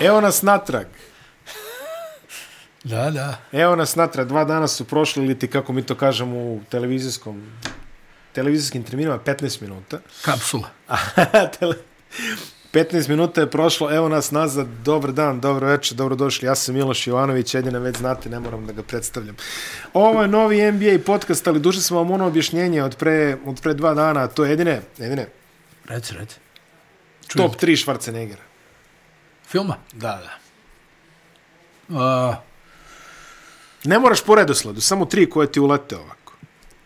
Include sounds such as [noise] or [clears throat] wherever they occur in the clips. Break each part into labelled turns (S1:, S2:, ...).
S1: Evo nas natrag.
S2: Da, da.
S1: Evo nas natrag. Dva dana su prošli, ili ti kako mi to kažemo u televizijskom televizijskim terminima 15 minuta. [laughs]
S2: Kapsula.
S1: Tele- 15 minuta je prošlo, evo nas nazad, dobar dan, dobro večer, dobrodošli, ja sam Miloš Jovanović, jedina već znate, ne moram da ga predstavljam. Ovo je novi NBA podcast, ali duže sam vam ono objašnjenje od pre, od pre dva dana, a to je jedine, jedine,
S2: Reci, reci. Čujem.
S1: top 3 Schwarzeneggera.
S2: Filma?
S1: Da, da.
S2: Uh,
S1: Ne moraš po redosledu, samo tri koje ti ulete ovako.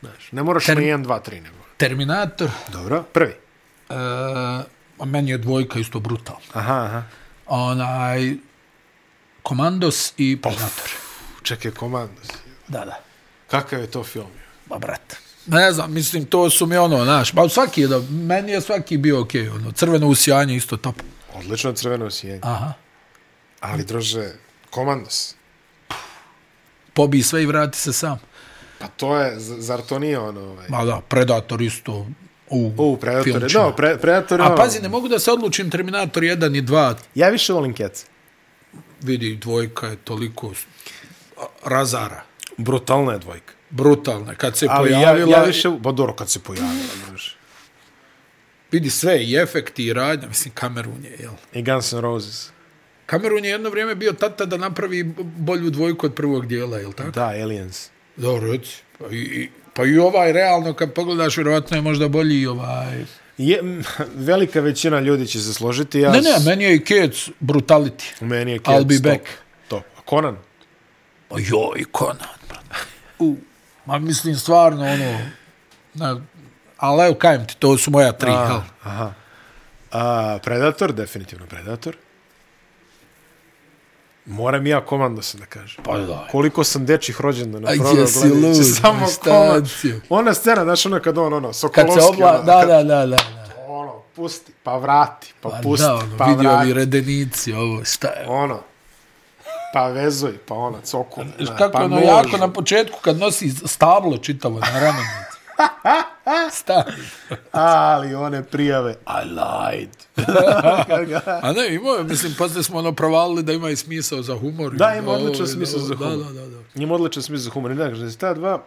S1: Znaš, ne moraš
S2: Ter-
S1: na 1, 2, 3, nego.
S2: Terminator.
S1: Dobro, prvi.
S2: Uh, a meni je dvojka isto brutal.
S1: Aha, aha.
S2: Onaj... Komandos i Predator.
S1: Čekaj, komando. si.
S2: Da, da.
S1: Kakav je to film?
S2: Ba, brat. Ne znam, mislim, to su mi ono, znaš, pa svaki je da, meni je svaki bio okej, okay, ono, crveno usijanje isto top.
S1: Odlično crveno sjenje.
S2: Aha.
S1: Ali, druže, komandos.
S2: Pobij sve i vrati se sam.
S1: Pa to je, z- zar to nije ono... Ovaj,
S2: Ma da, Predator isto. U,
S1: u, Predatore,
S2: filmčina.
S1: no, pre, Predatore...
S2: A
S1: ono-
S2: pazi, ne mogu da se odlučim Terminator 1 i 2,
S1: Ja više volim kece.
S2: vidi, dvojka je toliko s- a- razara,
S1: Brutalna je dvojka.
S2: brutalna. Kad se
S1: Ali ja,
S2: pojavila,
S1: ja više... Ba, dobro, kad se pojavila, druže.
S2: vidi sve, i efekti, i radnja, mislim, Kamerun je, jel?
S1: I Guns N' Roses.
S2: Kamerun je jedno vrijeme bio tata da napravi b- bolju dvojku od prvog dijela, jel tako?
S1: Da, Aliens.
S2: Dobro, reci. Pa i, i, pa i ovaj, realno, kad pogledaš, vjerovatno je možda bolji i ovaj...
S1: Je, m, velika većina ljudi će se složiti. Ja
S2: Ne, ne,
S1: s-
S2: meni je i Kec brutality.
S1: Meni je Cats
S2: I'll be
S1: top.
S2: back.
S1: Top. A Conan?
S2: Pa joj, Conan, brate. U, ma mislim, stvarno, ono... Na, ali evo, kajem ti, to su moja tri, jel?
S1: Aha. A, Predator, definitivno Predator. Moram i ja komando sam da kažem.
S2: Pa da.
S1: Koliko sam dečih rođendana
S2: A
S1: prodao
S2: jesi
S1: gledajući
S2: lud, [laughs]
S1: samo
S2: ma šta
S1: komando.
S2: si?
S1: Ona scena, znaš ono kad on, ono,
S2: Kad
S1: Sokolovski,
S2: se obla...
S1: ono,
S2: Da,
S1: kad,
S2: da, da, da. da.
S1: ono, pusti, pa vrati, pa,
S2: Pa
S1: pusti,
S2: da, ono,
S1: pa
S2: vidio
S1: vrati,
S2: ovi redenici, ovo, šta je.
S1: ono, pa vezuj, pa ona, coku,
S2: Znaš kako
S1: pa
S2: ono
S1: nožu.
S2: jako na početku kad nosi stablo čitavo
S1: [laughs]
S2: na ramenici. Stavi.
S1: ali one prijave, I
S2: [laughs]
S1: lied.
S2: A ne, imao je, mislim, posle smo ono provalili da ima i smisao za humor. i
S1: Da, ima
S2: za ovo
S1: odličan
S2: i za
S1: smisao
S2: ovo.
S1: za humor.
S2: Da, da, da. da.
S1: Njima odličan smisla za humor, ne da kažem, ta dva,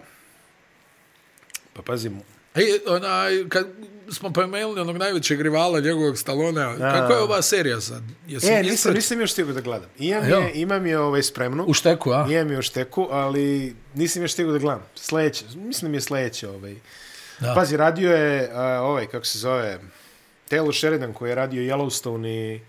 S1: pa pazi,
S2: E, onaj, kad smo pomenuli onog najvećeg rivala njegovog Stalona, kako je ova serija sad? Jesi
S1: E, nisam,
S2: ispratio?
S1: nisam još stigao da gledam. Imam
S2: Jel?
S1: je, imam je ovaj spremnu.
S2: U šteku, a?
S1: Imam je u šteku, ali nisam još stigao da gledam. Sledeće, mislim da mi je sledeće. Ovaj.
S2: Da.
S1: Pazi, radio je a, ovaj, kako se zove, Taylor Sheridan koji je radio Yellowstone i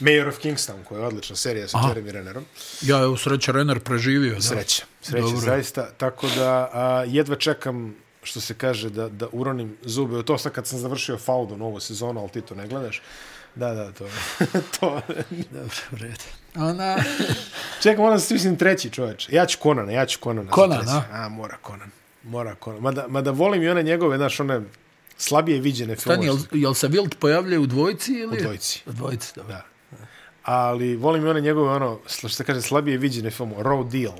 S1: Mayor of Kingstown, koja je odlična serija sa Jeremy Rennerom.
S2: Ja, evo, sreća, Renner preživio. da.
S1: Sreća, sreća
S2: Dobro.
S1: zaista. Tako da a, jedva čekam što se kaže da, da uronim zube. u To sad kad sam završio Faudu novu sezonu, ali ti to ne gledaš. Da, da, to. [laughs] to
S2: Dobro, u redu.
S1: [laughs]
S2: Ona,
S1: Čekaj, moram da stisnem treći čoveč. Ja ću Konana, ja ću Konana. za
S2: Conan,
S1: treći.
S2: a?
S1: A, mora Konan. Mora Konan. Mada, mada volim i one njegove, znaš, one slabije viđene
S2: Tani,
S1: filmove.
S2: jel, jel se Wild pojavlja u dvojci ili?
S1: U dvojici.
S2: U dvojici, dobro.
S1: Da. Ali volim i one njegove, ono, sl- što se kaže, slabije viđene filmove. Raw Deal.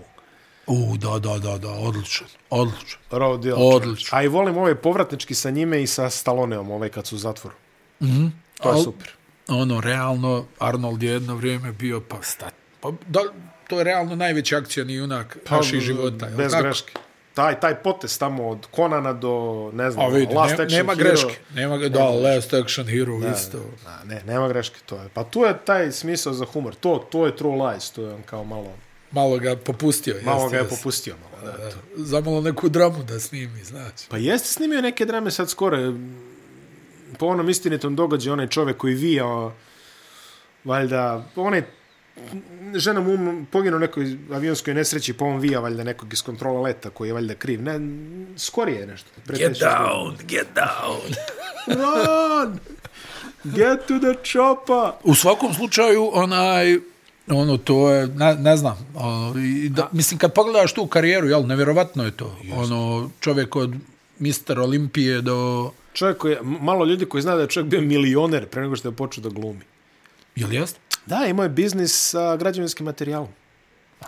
S2: U, da, da, da, da, odličan, odličan.
S1: Raw Deal.
S2: Odlično.
S1: čoveč. A i volim ove povratnički sa njime i sa Stalloneom, ovaj kad su u zatvoru. Mm -hmm. To je
S2: Al-
S1: super.
S2: Ono, realno, Arnold je jedno vrijeme bio, pa sta, pa, da, to je realno najveći akcijani junak pa, naših života. jel
S1: Bez
S2: tako?
S1: greške. Taj, taj potes tamo od Konana do, ne znam,
S2: A vidi,
S1: Last
S2: ne,
S1: Action
S2: nema
S1: Hero.
S2: greške. Nema, ga- da, Last Action Hero isto.
S1: A, ne, nema greške, to je. Pa tu je taj smisao za humor. To, to je True Lies, to je on kao malo,
S2: Malo ga popustio.
S1: malo
S2: jeste,
S1: ga je
S2: jeste.
S1: popustio. Malo, da.
S2: Zamalo neku dramu da snimi, znači.
S1: Pa jeste snimio neke drame sad skoro. Po onom istinitom događaju onaj čovek koji vijao, valjda, onaj žena mu um- poginuo u nekoj avionskoj nesreći, pa on vija valjda nekog iz kontrola leta koji je valjda kriv. Ne, skorije je nešto. Pre
S2: Get
S1: 15 godina.
S2: down, get down.
S1: Run! Get to the chopper!
S2: U svakom slučaju, onaj, ono, to je, ne, ne znam, ono, i da, mislim, kad pogledaš tu karijeru, jel, nevjerovatno je to. Ono, čovjek od Mister Olimpije do...
S1: Čovjek koji je, m- malo ljudi koji zna da je čovjek bio milioner pre nego što je počeo da glumi.
S2: Jel jest?
S1: Da, imao je biznis sa građevinskim materijalom.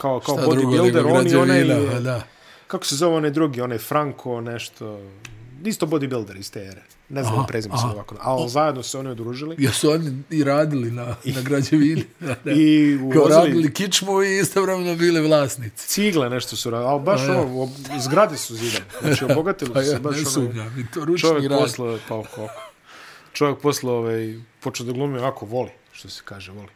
S1: Kao, kao
S2: Šta drugo nego pa
S1: bodybuilder, on i Pa onaj,
S2: građevina, pa da.
S1: kako se zove onaj drugi, onaj Franco, nešto, isto bodybuilder iz te ere. Ne znam
S2: Aha,
S1: prezime se
S2: aha.
S1: ovako. Ali zajedno su se oni odružili.
S2: Jer su oni i radili na, na
S1: [laughs]
S2: građevini. pa Da.
S1: I
S2: Kao
S1: uvozili
S2: radili kičmu i istovremeno bili vlasnici.
S1: cigle nešto su radili. Ali baš
S2: Pa ja.
S1: ono, ob- zgrade su zidane.
S2: [laughs]
S1: Znači, obogatili
S2: Pa
S1: su
S2: ja
S1: se baš
S2: ne
S1: ono.
S2: sumnjam, i to ručni
S1: Čovjek
S2: rad.
S1: posle, pa oko. Čovjek posle ovaj, počeo da glumi ovako, voli, što se kaže, voli.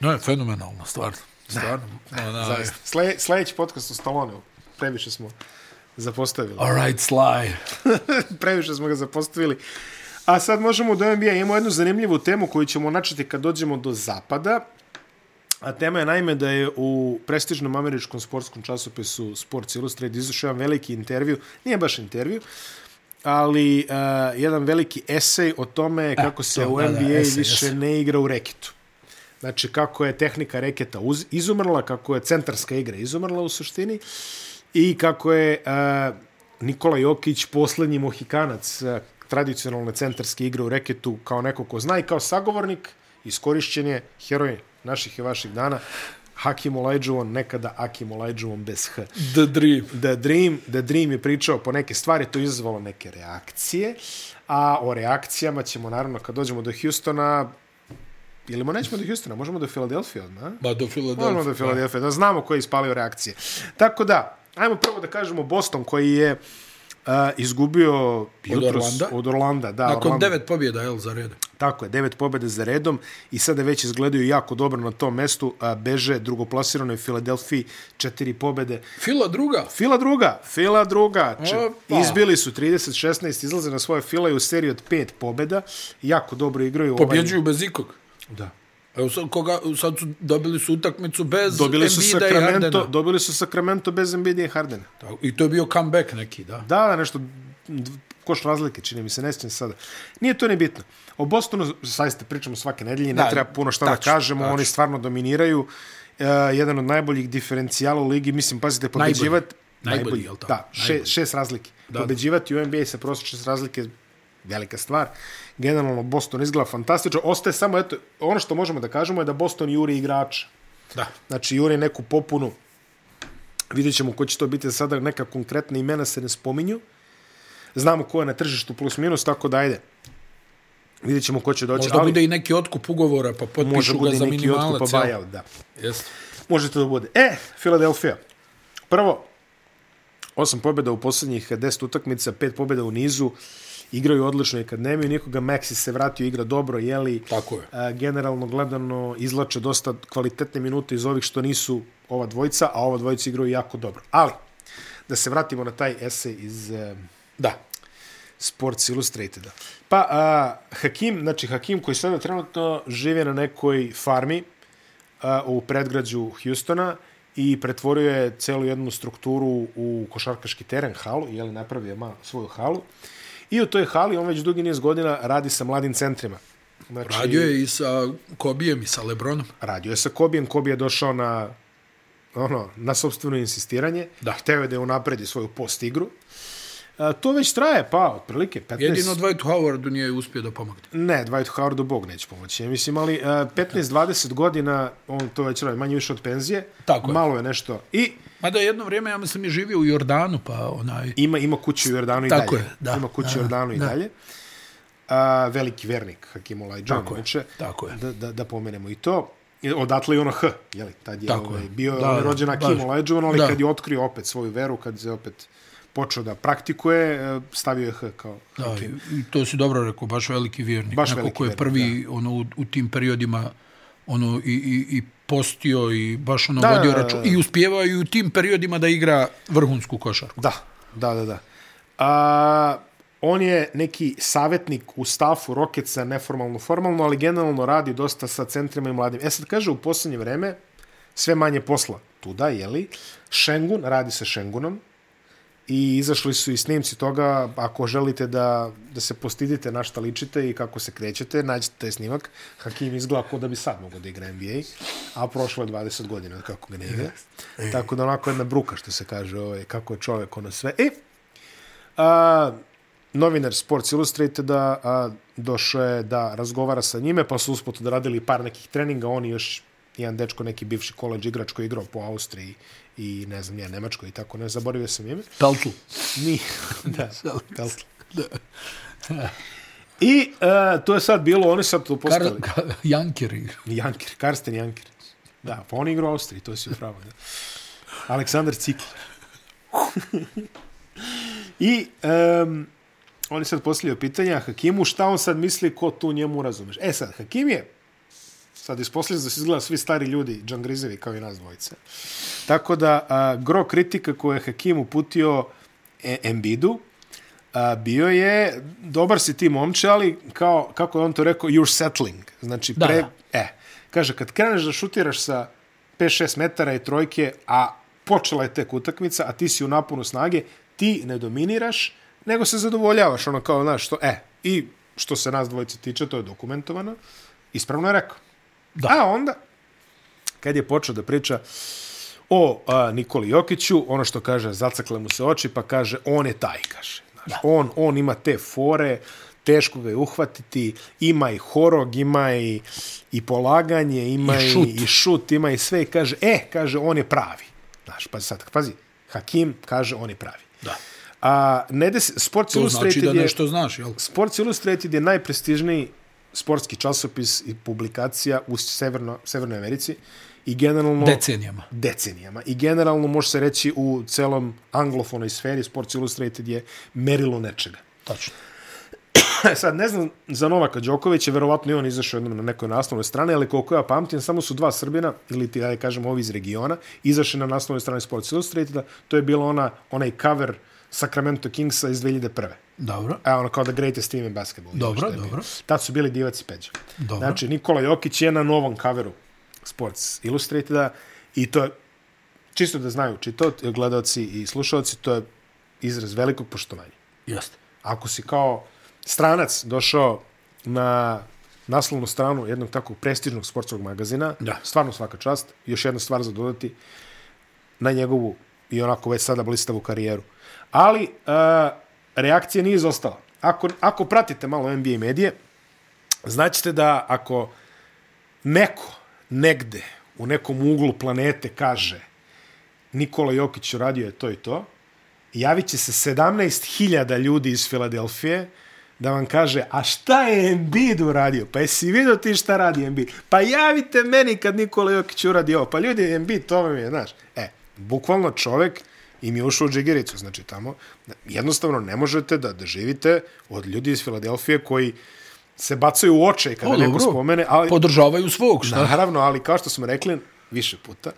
S2: No je fenomenalno, stvarno. Stvarno. Ona,
S1: Zaista. Sle, sljedeći podcast u Stalloneu. Previše smo zapostavili.
S2: All right, Sly.
S1: [laughs] Previše smo ga zapostavili. A sad možemo do NBA. Imamo jednu zanimljivu temu koju ćemo načeti kad dođemo do zapada. A tema je naime da je u prestižnom američkom sportskom časopisu Sports Illustrated izašao jedan veliki intervju, nije baš intervju, ali uh, jedan veliki esej o tome kako se
S2: E, to,
S1: u
S2: da, da,
S1: NBA
S2: esej,
S1: više
S2: esej.
S1: ne igra u reketu. Znači, kako je tehnika reketa uz, izumrla, kako je centarska igra izumrla u suštini i kako je uh, Nikola Jokić posljednji mohikanac uh, tradicionalne centarske igre u reketu kao neko ko zna i kao sagovornik iskorišćen je heroj naših i vaših dana Hakim Olajđuvom, nekada Akim Olajđuvom bez H.
S2: The Dream.
S1: The Dream, The Dream je pričao po neke stvari, to je izazvalo neke reakcije, a o reakcijama ćemo naravno kad dođemo do Houstona, ili mo nećemo do Houstona, možemo do Filadelfije odmah, a?
S2: Ba, do Philadelphia.
S1: Moramo do Filadelfije, da znamo ko je ispalio reakcije. Tako da, ajmo prvo da kažemo Boston koji je uh, izgubio jutros
S2: Orlanda?
S1: od Orlanda, da,
S2: Nakon
S1: Orlanda.
S2: devet pobjeda, jel, za redom.
S1: Tako je, devet pobjede za redom i sada već izgledaju jako dobro na tom mestu, a beže drugoplasirano je Filadelfiji četiri pobjede.
S2: Fila druga.
S1: Fila druga, pa. Fila druga. Če,
S2: Opa.
S1: izbili su 30-16, izlaze na svoje Fila i u seriji od pet pobjeda. Jako dobro igraju. ovaj-
S2: Pobjeđuju bez ikog.
S1: Da.
S2: Evo sad, koga, sad su dobili su utakmicu bez
S1: Dobili su,
S2: Embiida i Hardena.
S1: Sacramento, dobili su Sacramento bez Embiida i Hardena.
S2: Tako, I to je bio comeback neki, da.
S1: Da, da, nešto dv- koš razlike, čini mi se, ne sjećam se sada. Nije to ni bitno. O Bostonu, zaista pričamo svake nedelje, ne
S2: Da,
S1: treba puno šta
S2: tačno,
S1: da kažemo,
S2: tačno.
S1: oni stvarno dominiraju. E, jedan od najboljih diferencijala u ligi, mislim, pazite,
S2: Najbolji.
S1: pobeđivati...
S2: Najbolji, jel tako?
S1: Da, še,
S2: Najbolji.
S1: šest razlike. Da, pobeđivati u NBA sa prosječno šest razlike velika stvar. Generalno, Boston izgleda fantastično. Ostaje samo, eto, ono što možemo da kažemo je da Boston juri igrača.
S2: Da.
S1: Znači, juri neku popunu. Vidjet ćemo ko će to biti sada, neka konkretna imena se ne spominju. Znamo ko je na tržištu plus minus, tako da ajde. Vidjet ćemo ko će doći.
S2: Možda bude i neki otkup ugovora, pa
S1: može
S2: potpišu ga
S1: bude
S2: za
S1: neki pa
S2: minimalac.
S1: otkupa buyout, da.
S2: Jeste.
S1: Može to da bude. E, Filadelfija. Prvo, osam pobjeda u posljednjih 10 utakmica, pet pobjeda u nizu, igraju odlično i kad nemaju nikoga, Maxi se vratio, igra dobro, jeli,
S2: Tako je.
S1: E, generalno gledano izlače dosta kvalitetne minute iz ovih što nisu ova dvojica, a ova dvojica igraju jako dobro. Ali, da se vratimo na taj esej iz e,
S2: Da.
S1: Sports Illustrateda. Pa, a, Hakim, znači Hakim koji sada trenutno žive na nekoj farmi a, u predgrađu Hustona i pretvorio je celu jednu strukturu u košarkaški teren, halu, jeli napravio je ma, svoju halu. I u toj hali on već dugi niz godina radi sa mladim centrima. Znači,
S2: Radio je i sa Kobijem i sa Lebronom.
S1: radio je sa Kobijem, Kobi je došao na ono, na sobstveno insistiranje,
S2: Da.
S1: hteo je da je unapredi svoju post igru. A, to već traje, pa, otprilike 15...
S2: Jedino Dwight Howardu nije uspio da pomogne.
S1: Ne, Dwight Howardu Bog neće pomoći. Ja mislim, ali uh, 15-20 godina on to već radi, manje više od penzije.
S2: Tako je.
S1: Malo je nešto. I
S2: Mada jedno vrijeme, ja mislim, je živio u Jordanu, pa onaj...
S1: ima, ima kuću u Jordanu i
S2: Tako
S1: dalje.
S2: je, da.
S1: Ima kuću u
S2: Da,
S1: Jordanu i
S2: da.
S1: dalje. A, veliki vernik Hakim Olajđan.
S2: Tako je,
S1: inače,
S2: tako je.
S1: Da, da, da pomenemo i to. I Odatle je ono H, jeli, tad je,
S2: Tako
S1: ovaj,
S2: je.
S1: bio je
S2: Da,
S1: da,
S2: da,
S1: rođen Hakim
S2: baš.
S1: Olajđan, ali
S2: Da.
S1: kad je otkrio opet svoju veru, kad je opet počeo da praktikuje, e, stavio je H kao
S2: Da, i to si dobro rekao, baš veliki vjernik.
S1: Baš
S2: Neko
S1: veliki
S2: ko je
S1: vjernik,
S2: prvi ono, u, u tim periodima ono, i, i, i postio i baš ono
S1: Da,
S2: da, vodio
S1: da, da,
S2: račun.
S1: da.
S2: I uspjevao i u tim periodima da igra vrhunsku košarku.
S1: Da, da, da, da. A, on je neki savjetnik u stafu Rocketsa, neformalno, formalno, ali generalno radi dosta sa centrima i mladim. E sad kaže, u posljednje vreme sve manje posla tuda, jeli? Šengun, radi sa Šengunom i izašli su i snimci toga, ako želite da, da se postidite na šta ličite i kako se krećete, nađite taj snimak. Hakim izgleda kao da bi sad mogao da igra NBA, a prošlo je 20 godina od kako ga ne igra. Tako da onako jedna bruka što se kaže, ovaj, kako je čovjek ono sve. E, a, novinar Sports Illustrateda a, došao je da razgovara sa njime, pa su usput odradili par nekih treninga, oni još jedan dečko, neki bivši koleđ igrač koji je igrao po Austriji i ne znam, ja Nemačkoj i tako, ne zaboravio sam ime.
S2: Peltl.
S1: Ni, da, Peltl. I uh, to je sad bilo, oni sad to
S2: Kar,
S1: postali.
S2: ka, Janker igra.
S1: Janker, Karsten Janker. Da, pa on igra u Austriji, to si upravo. Da. Aleksandar Cikler. [laughs] I um, oni sad postavljaju pitanja Hakimu šta on sad misli, ko tu njemu razumeš. E sad, Hakim je sad isposljedno da se izgleda svi stari ljudi džangrizevi kao i nas dvojice. Tako da, a, gro kritika koju je Hakim uputio e, Embidu, a, bio je, dobar si ti momče, ali kao, kako je on to rekao, you're settling. Znači,
S2: Da,
S1: pre,
S2: da.
S1: E, kaže, kad kreneš da šutiraš sa 5-6 metara i trojke, a počela je tek utakmica, a ti si u napunu snage, ti ne dominiraš, nego se zadovoljavaš, ono kao, znaš, što, e, i što se nas dvojice tiče, to je dokumentovano, ispravno je rekao.
S2: Da.
S1: A onda, kad je počeo da priča o a, Nikoli Jokiću, ono što kaže, zacakle mu se oči, pa kaže, on je taj, kaže. Znaš, on, on ima te fore, teško ga je uhvatiti, ima i horog, ima i, i polaganje, ima
S2: I
S1: i
S2: šut.
S1: šut. i šut, ima i sve, i kaže, e, kaže, on je pravi. Znaš, pazi sad, pazi, Hakim kaže, on je pravi.
S2: Da.
S1: A, ne desi, Sports
S2: To
S1: Illustrated
S2: znači da
S1: je...
S2: nešto znaš, jel?
S1: Sports Illustrated je najprestižniji sportski časopis i publikacija u Severno, Severnoj Americi i generalno
S2: Decenijama.
S1: decenijama. I generalno može se reći u celom anglofonoj sferi Sports Illustrated je merilo nečega. [laughs] E,
S2: Tačno.
S1: Sad, ne znam za Novaka Đokovića, verovatno i on izašao jednom na nekoj naslovnoj strani, ali koliko ja pamtim, samo su dva Srbina, ili ti, da kažem, ovi iz regiona, izašli na naslovnoj strani Sports Illustrateda. To je bila ona, onaj cover Sacramento Kingsa iz 2001.
S2: Dobro.
S1: A ono kao the greatest team in basketball.
S2: Dobro,
S1: Šta je bio.
S2: dobro.
S1: Tad su bili divac i peđa.
S2: Dobro.
S1: Znači, Nikola Jokić je na novom kaveru Sports Illustrateda i to je, čisto da znaju čito, gledalci i slušalci, to je izraz velikog poštovanja.
S2: Jeste.
S1: Ako si kao stranac došao na naslovnu stranu jednog takvog prestižnog sportskog magazina,
S2: Da.
S1: stvarno svaka čast, još jedna stvar za dodati na njegovu i onako već sada blistavu karijeru. Ali uh, reakcija nije izostala. Ako, ako pratite malo NBA medije, znaćete da ako neko negde u nekom uglu planete kaže Nikola Jokić uradio je to i to, javit će se 17.000 ljudi iz Filadelfije da vam kaže, a šta je Embiid uradio? Pa jesi vidio ti šta radi Embiid? Pa javite meni kad Nikola Jokić uradi ovo. Pa ljudi, Embiid, to vam je, znaš. E, bukvalno čovek im je ušao u džigericu, znači tamo. Jednostavno ne možete da, da živite od ljudi iz Filadelfije koji se bacaju u oče kada
S2: O,
S1: neko
S2: dobro.
S1: spomene, ali
S2: Podržavaju svog, šta?
S1: Naravno, ali kao što smo rekli više puta,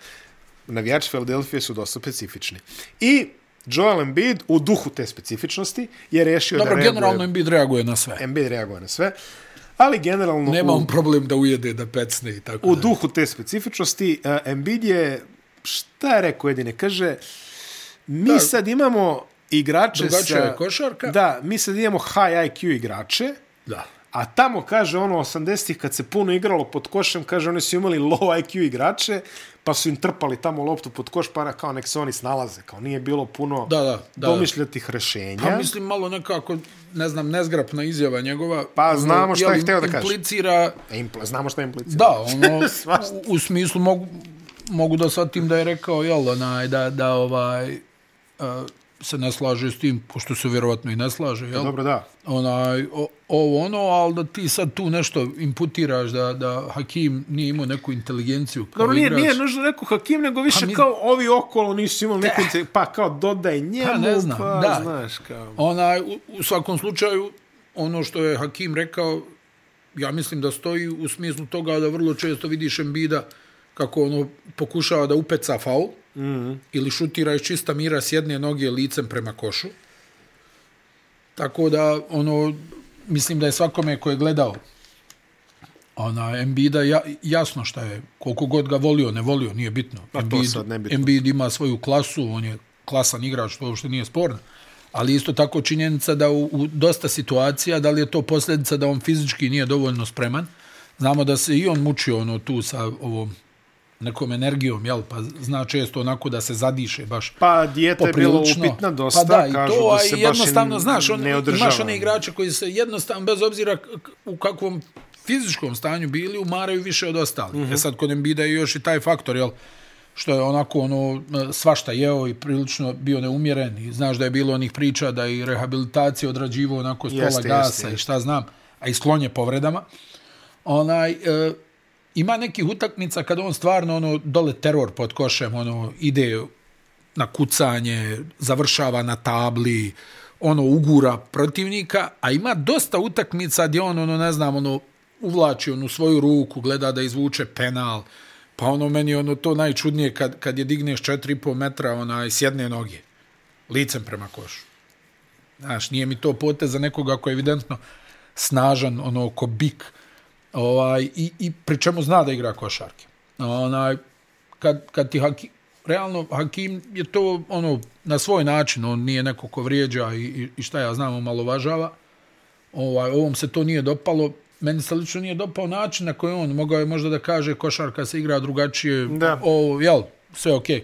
S1: navijači Philadelphia su dosta specifični. I Joel Embiid u duhu te specifičnosti je rešio
S2: Dobro,
S1: da reaguje.
S2: generalno Embiid reaguje na sve.
S1: Embiid reaguje na sve, ali generalno
S2: Nema
S1: u,
S2: on problem da ujede, da pecne i tako
S1: u
S2: da.
S1: duhu te specifičnosti uh, Embiid je, šta je rekao jedine, kaže, mi da. sad imamo igrače
S2: Drugačija
S1: sa...
S2: je košarka.
S1: Da, mi sad imamo high IQ igrače,
S2: Da.
S1: A tamo, kaže, ono, 80-ih, kad se puno igralo pod košem, kaže, oni su imali low IQ igrače, pa su im trpali tamo loptu pod koš, pa na- kao nek se oni snalaze, kao nije bilo puno
S2: Da, da, da, da.
S1: domišljatih rešenja.
S2: Pa mislim malo nekako, ne znam, nezgrapna izjava njegova.
S1: Pa,
S2: ono,
S1: znamo šta
S2: jel,
S1: je hteo da kaže.
S2: Implicira,
S1: E, impl- znamo šta implicira.
S2: da, ono,
S1: [laughs] Svašta.
S2: u, u smislu mogu, mogu da shvatim da je rekao, jel, onaj, da, da ovaj, a, se ne slaže s tim, pošto se vjerovatno i ne slaže, jel?
S1: Dobro, da.
S2: onaj, o- ovo ono, ali da ti sad tu nešto imputiraš da, da Hakim nije imao neku inteligenciju kao
S1: Dobro, nije,
S2: igrač.
S1: nije nužno rekao Hakim, nego više
S2: Pa mi-
S1: kao ovi okolo nisu imali neku, inte- pa kao dodaj njemu,
S2: Pa, ne znam,
S1: pa
S2: da.
S1: znaš, kao...
S2: Onaj, u, u svakom slučaju, ono što je Hakim rekao, ja mislim da stoji u smislu toga da vrlo često vidiš Embida kako ono pokušava da upeca faul mm
S1: Mhm.
S2: -hmm. ili šutira iz čista mira s jedne noge licem prema košu. Tako da, ono, mislim da je svakome ko je gledao ona Embida ja, jasno šta je, koliko god ga volio, ne volio, nije bitno.
S1: to sad nebitno.
S2: Embiid ima svoju klasu, on je klasan igrač, to uopšte nije sporno. Ali isto tako činjenica da u, u dosta situacija, da li je to posljedica da on fizički nije dovoljno spreman. Znamo da se i on mučio ono tu sa ovom nekom energijom, jel? Pa zna često onako da se zadiše baš
S1: Pa, dijeta je bila upitna dosta,
S2: pa da, i
S1: kažu
S2: to,
S1: da
S2: a
S1: se
S2: i
S1: baš i
S2: jednostavno, znaš, on,
S1: ne
S2: imaš
S1: održava.
S2: one igrače koji se jednostavno, bez obzira k- k- u kakvom
S1: Mhm.
S2: fizičkom stanju bili, umaraju više od ostalih. Mm -hmm. E sad, kod Embida je još i taj faktor, jel? što je onako ono svašta jeo i prilično bio neumjeren i znaš da je bilo onih priča da i rehabilitacije odrađivao onako s pola
S1: Jeste,
S2: gasa
S1: jeste.
S2: i šta znam, a i sklon je povredama. Onaj, e, ima nekih utakmica kad on stvarno ono dole teror pod košem, ono ide na kucanje, završava na tabli, ono ugura protivnika, a ima dosta utakmica gdje on ono ne znam, ono uvlači onu svoju ruku, gleda da izvuče penal. Pa ono meni je ono to najčudnije kad kad je digneš 4,5 metra onaj s jedne noge licem prema košu. Znaš, nije mi to potez za nekoga ko je evidentno snažan, ono, ko bik, ovaj, i, i pri čemu zna da igra košarke. Onaj, kad, kad ti Hakim, realno Hakim je to ono na svoj način, on nije neko ko vrijeđa i, i- i šta ja znam, omalovažava. Ovaj, ovom se to nije dopalo, meni se lično nije dopao način na koji on mogao je možda da kaže košarka se igra drugačije,
S1: Da.
S2: ovo, jel, sve okej. Okay.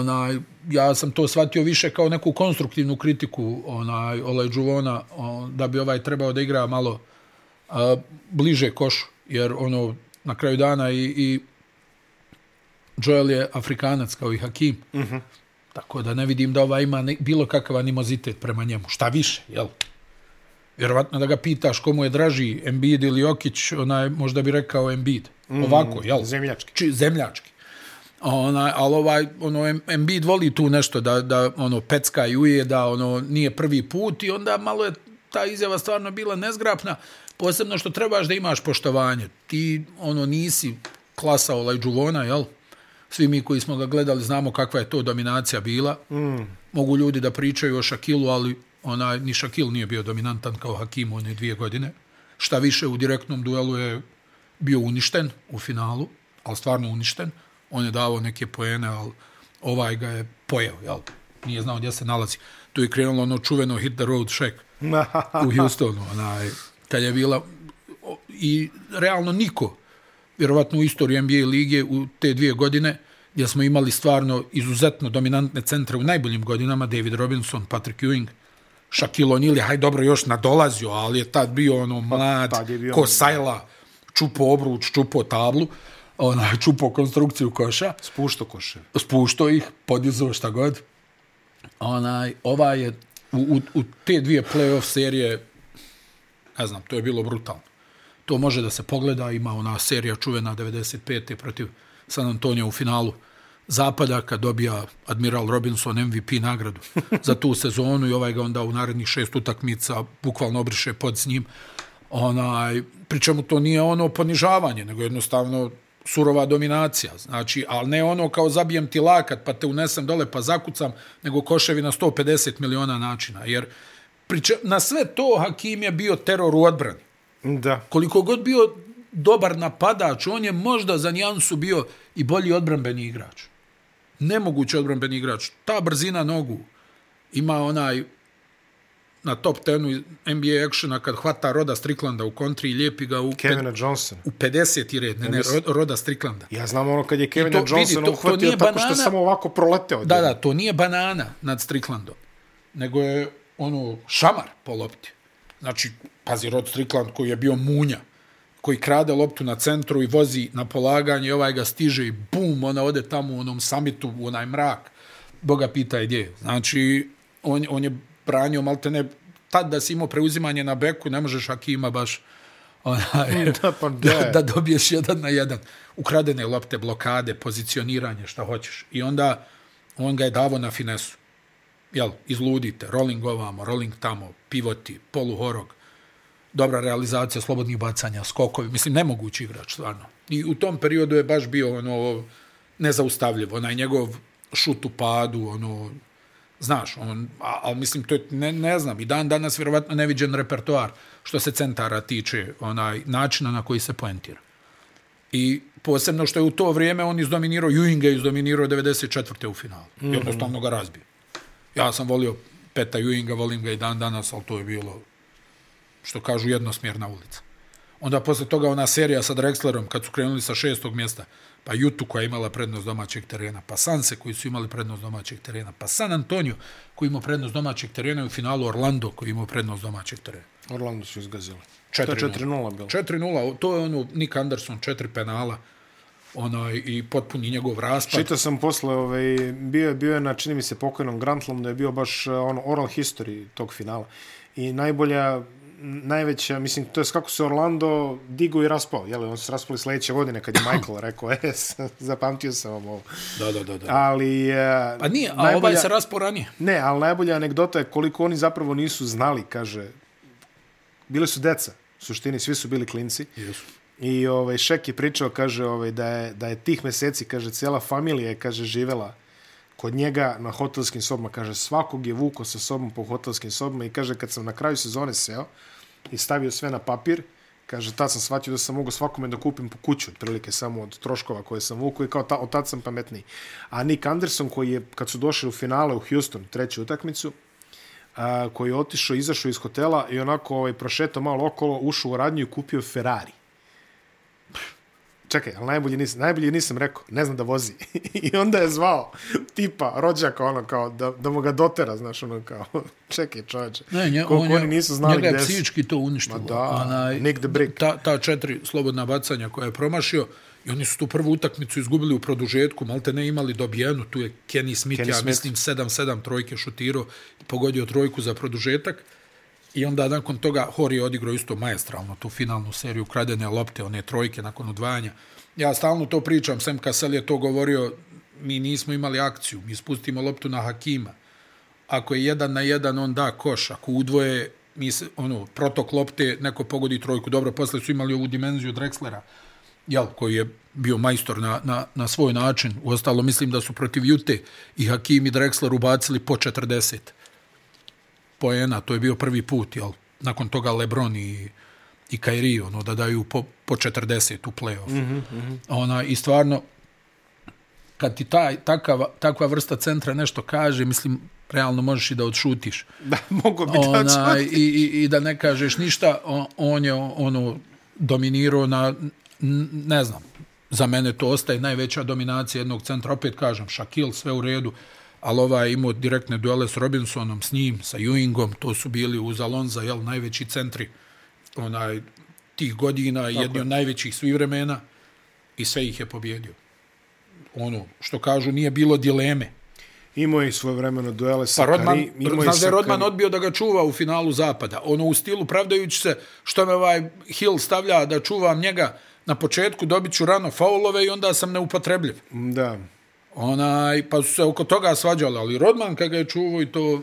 S2: Onaj, ja sam to shvatio više kao neku konstruktivnu kritiku onaj, Olaj Džuvona, on, da bi ovaj trebao da igra malo a, bliže košu, jer ono, na kraju dana i, i Joel je Afrikanac kao i Hakim. Uh -huh. Tako da ne vidim da ova ima ne, bilo kakav animozitet prema njemu. Šta više, jel? Vjerovatno da ga pitaš komu je draži, Embiid ili Jokić, onaj, možda bi rekao Embiid. Ovako, jel?
S1: Zemljački.
S2: Či, zemljački. Onaj, ali ovaj, ono, Em- Embiid voli tu nešto da, da ono, pecka i uje, da ono, nije prvi put i onda malo je ta izjava stvarno bila nezgrapna, posebno što trebaš da imaš poštovanje. Ti, ono, nisi klasa Olajđuvona, jel? Svi mi koji smo ga gledali znamo kakva je to dominacija bila. Mm. Mogu ljudi da pričaju o Shakilu, ali onaj, ni Shakil nije bio dominantan kao Hakim one dvije godine. Šta više, u direktnom duelu je bio uništen u finalu, ali stvarno uništen. On je davao neke poene, ali ovaj ga je pojeo, jel? Nije znao gdje se nalazi. Tu je krenulo ono čuveno hit the road shack u Houstonu, onaj, kad je bila o- i realno niko, vjerovatno u istoriji NBA lige u te dvije godine, gdje smo imali stvarno izuzetno dominantne centre u najboljim godinama, David Robinson, Patrick Ewing, Shaquille O'Neal, je, haj dobro još nadolazio, ali je tad bio ono mlad,
S1: tad je bio
S2: ko
S1: ono-
S2: sajla, čupo obruč, čupo tablu, onaj, čupo konstrukciju koša,
S1: Spušto koše.
S2: spuštao ih, podizao šta god. Onaj, ova je u, u, u te dvije playoff serije, ne znam, to je bilo brutalno. To može da se pogleda, ima ona serija čuvena 95. protiv San Antonija u finalu zapada kad dobija Admiral Robinson MVP nagradu za tu sezonu i ovaj ga onda u narednih šest utakmica bukvalno obriše pod s njim. Onaj, pričemu to nije ono ponižavanje, nego jednostavno surova dominacija. Znači, ali ne ono kao zabijem ti lakat pa te unesem dole pa zakucam, nego koševi na 150 miliona načina. Jer priče, na sve to Hakim je bio teror u odbrani
S1: Da.
S2: koliko god bio dobar napadač, on je možda za nijansu bio i bolji odbranbeni igrač. Nemogući odbranbeni igrač. Ta brzina nogu ima onaj na top tenu NBA actiona kad hvata Roda Striklanda u kontri i lijepi ga u, ped,
S1: Kevina Johnson.
S2: u 50. red. Ne, ne, Ro- Roda Striklanda.
S1: Ja znam ono kad je Kevina
S2: I to- vidi,
S1: Johnson
S2: to- to
S1: uhvatio
S2: nije
S1: tako što
S2: banana.
S1: samo ovako proleteo.
S2: Da, da, to nije banana nad Stricklandom, nego je ono šamar po lopti. Znači, pazi, Rod Strickland koji je bio munja, koji krade loptu na centru i vozi na polaganje, i ovaj ga stiže i bum, ona ode tamo u onom samitu, u onaj mrak. Boga pita je gdje. je. Znači, on, on je branio maltene, tad da si imao preuzimanje na beku, ne možeš Hakima baš onaj,
S1: [laughs] Da, pa
S2: da,
S1: da.
S2: da dobiješ jedan na jedan. Ukradene lopte, blokade, pozicioniranje, šta hoćeš. I onda on ga je davo na finesu. Jel, izludite, rolling ovamo, rolling tamo, pivoti, poluhorog, dobra realizacija slobodnih bacanja, skokovi, mislim, nemogući igrač, stvarno. I u tom periodu je baš bio ono, nezaustavljiv, onaj njegov šut u padu, ono, znaš, on, a- ali mislim, to je, ne, ne znam, i dan danas vjerovatno neviđen repertoar što se centara tiče, onaj, načina na koji se poentira. I posebno što je u to vrijeme on izdominirao, Ewing je izdominirao 94. u finalu. Mm -hmm. Jednostavno ga razbio. Ja sam volio Peta Ewinga, volim ga i dan danas, ali to je bilo, što kažu, jednosmjerna ulica. Onda posle toga ona serija sa Drexlerom, kad su krenuli sa šestog mjesta, pa Jutu koja je imala prednost domaćeg terena, pa Sanse koji su imali prednost domaćeg terena, pa San Antonio koji imao prednost domaćeg terena i u finalu Orlando koji imao prednost domaćeg terena.
S1: Orlando su izgazili. To je
S2: 4:0.
S1: 4-0 bilo.
S2: 4-0, to je ono Nick Anderson, četiri penala. onaj, i potpuni njegov raspad.
S1: Čitao sam posle, ovaj, bio, je- bio je na, čini mi se, pokojnom Grantlom, da je bio baš eh, ono, oral history tog finala. I najbolja, m, najveća, mislim, to je kako se Orlando digo i raspao. Jel, on se raspali sledeće godine kad je Michael rekao, [laughs] e, zapamtio sam vam ovo.
S2: Da, da, da. da.
S1: Ali, eh,
S2: pa nije, a
S1: najbolja-
S2: ovaj se raspo ranije.
S1: Ne, ali najbolja anegdota je koliko oni zapravo nisu znali, kaže. Bili su deca, u suštini, svi su bili klinci.
S2: Jesu.
S1: I ovaj, Šek je pričao, kaže, ovaj, da, je, da je tih meseci, kaže, cijela familija je, kaže, živela kod njega na hotelskim sobama. Kaže, svakog je vuko sa sobom po hotelskim sobama i kaže, kad sam na kraju sezone seo i stavio sve na papir, kaže, tad sam shvatio da sam mogao svakome da kupim po kuću, otprilike samo od troškova koje sam vuko i kao ta, od tad sam pametniji. A Nick Anderson, koji je, kad su došli u finale u Houston, treću utakmicu, a, koji je otišao, izašao iz hotela i onako ovaj, prošetao malo okolo, ušao u radnju i kupio Ferrari. Čekaj, ali najbolje nisam, najbolje nisam rekao, ne znam da vozi. [laughs] I onda je zvao tipa, rođaka, ono kao, da, da mu ga dotera, znaš, ono kao, [laughs] čekaj čovječe,
S2: Ne, nje,
S1: koliko
S2: on je,
S1: oni nisu znali
S2: njega je
S1: gde su.
S2: psihički to uništilo.
S1: Ma da,
S2: Onaj,
S1: Nick the Brick.
S2: Ta, ta četiri slobodna bacanja koja je promašio, i oni su tu prvu utakmicu izgubili u produžetku, malte ne imali dobijenu, tu je Kenny Smith,
S1: Kenny
S2: Kenny ja
S1: Smith.
S2: Smith. mislim 7-7 trojke šutirao, pogodio trojku za produžetak, i onda nakon toga Hori je odigrao isto majestralno tu finalnu seriju kradene lopte, one trojke nakon odvajanja. Ja stalno to pričam, Sam Kassel je to govorio, mi nismo imali akciju, mi spustimo loptu na Hakima, ako je jedan na jedan, on da koš. Ako udvoje, mi se, ono, protok lopte, neko pogodi trojku. Dobro, posle su imali ovu dimenziju Drexlera, jel, koji je bio majstor na, na, na svoj način. Uostalo, mislim da su protiv Jute i Hakim i Drexler ubacili po 40 poena. To je bio prvi put, jel. Nakon toga Lebron i, i Kairi, ono, da daju po, po 40 u play-off. Mm -hmm. Ona, I stvarno, kad ti taj, takav, takva vrsta centra nešto kaže, mislim, realno možeš i da odšutiš.
S1: [laughs] Da, mogu biti da
S2: Ona, i,
S1: ću.
S2: i, I da ne kažeš ništa, on, on je ono, dominirao na, n- ne znam, za mene to ostaje najveća dominacija jednog centra. Opet kažem, Shaquille sve u redu, ali ovaj je imao direktne duele s Robinsonom, s njim, sa Ewingom, to su bili uz Alonza, jel, najveći centri onaj, tih godina, Tako jedni od najvećih svih vremena i sve ih je pobjedio. Ono, što kažu, nije bilo dileme.
S1: Imao je i svoje vremeno duele sa
S2: Pa Rodman,
S1: Kari- imao
S2: znaš da
S1: sa
S2: je Rodman
S1: Kari-
S2: odbio da ga čuva u finalu zapada. Ono u stilu pravdajući se što me ovaj Hill stavlja da čuvam njega na početku, dobit ću rano faulove i onda sam neupotrebljiv.
S1: Mm, Da,
S2: Onaj, pa su se oko toga svađali, ali Rodman kada ga je čuvao i to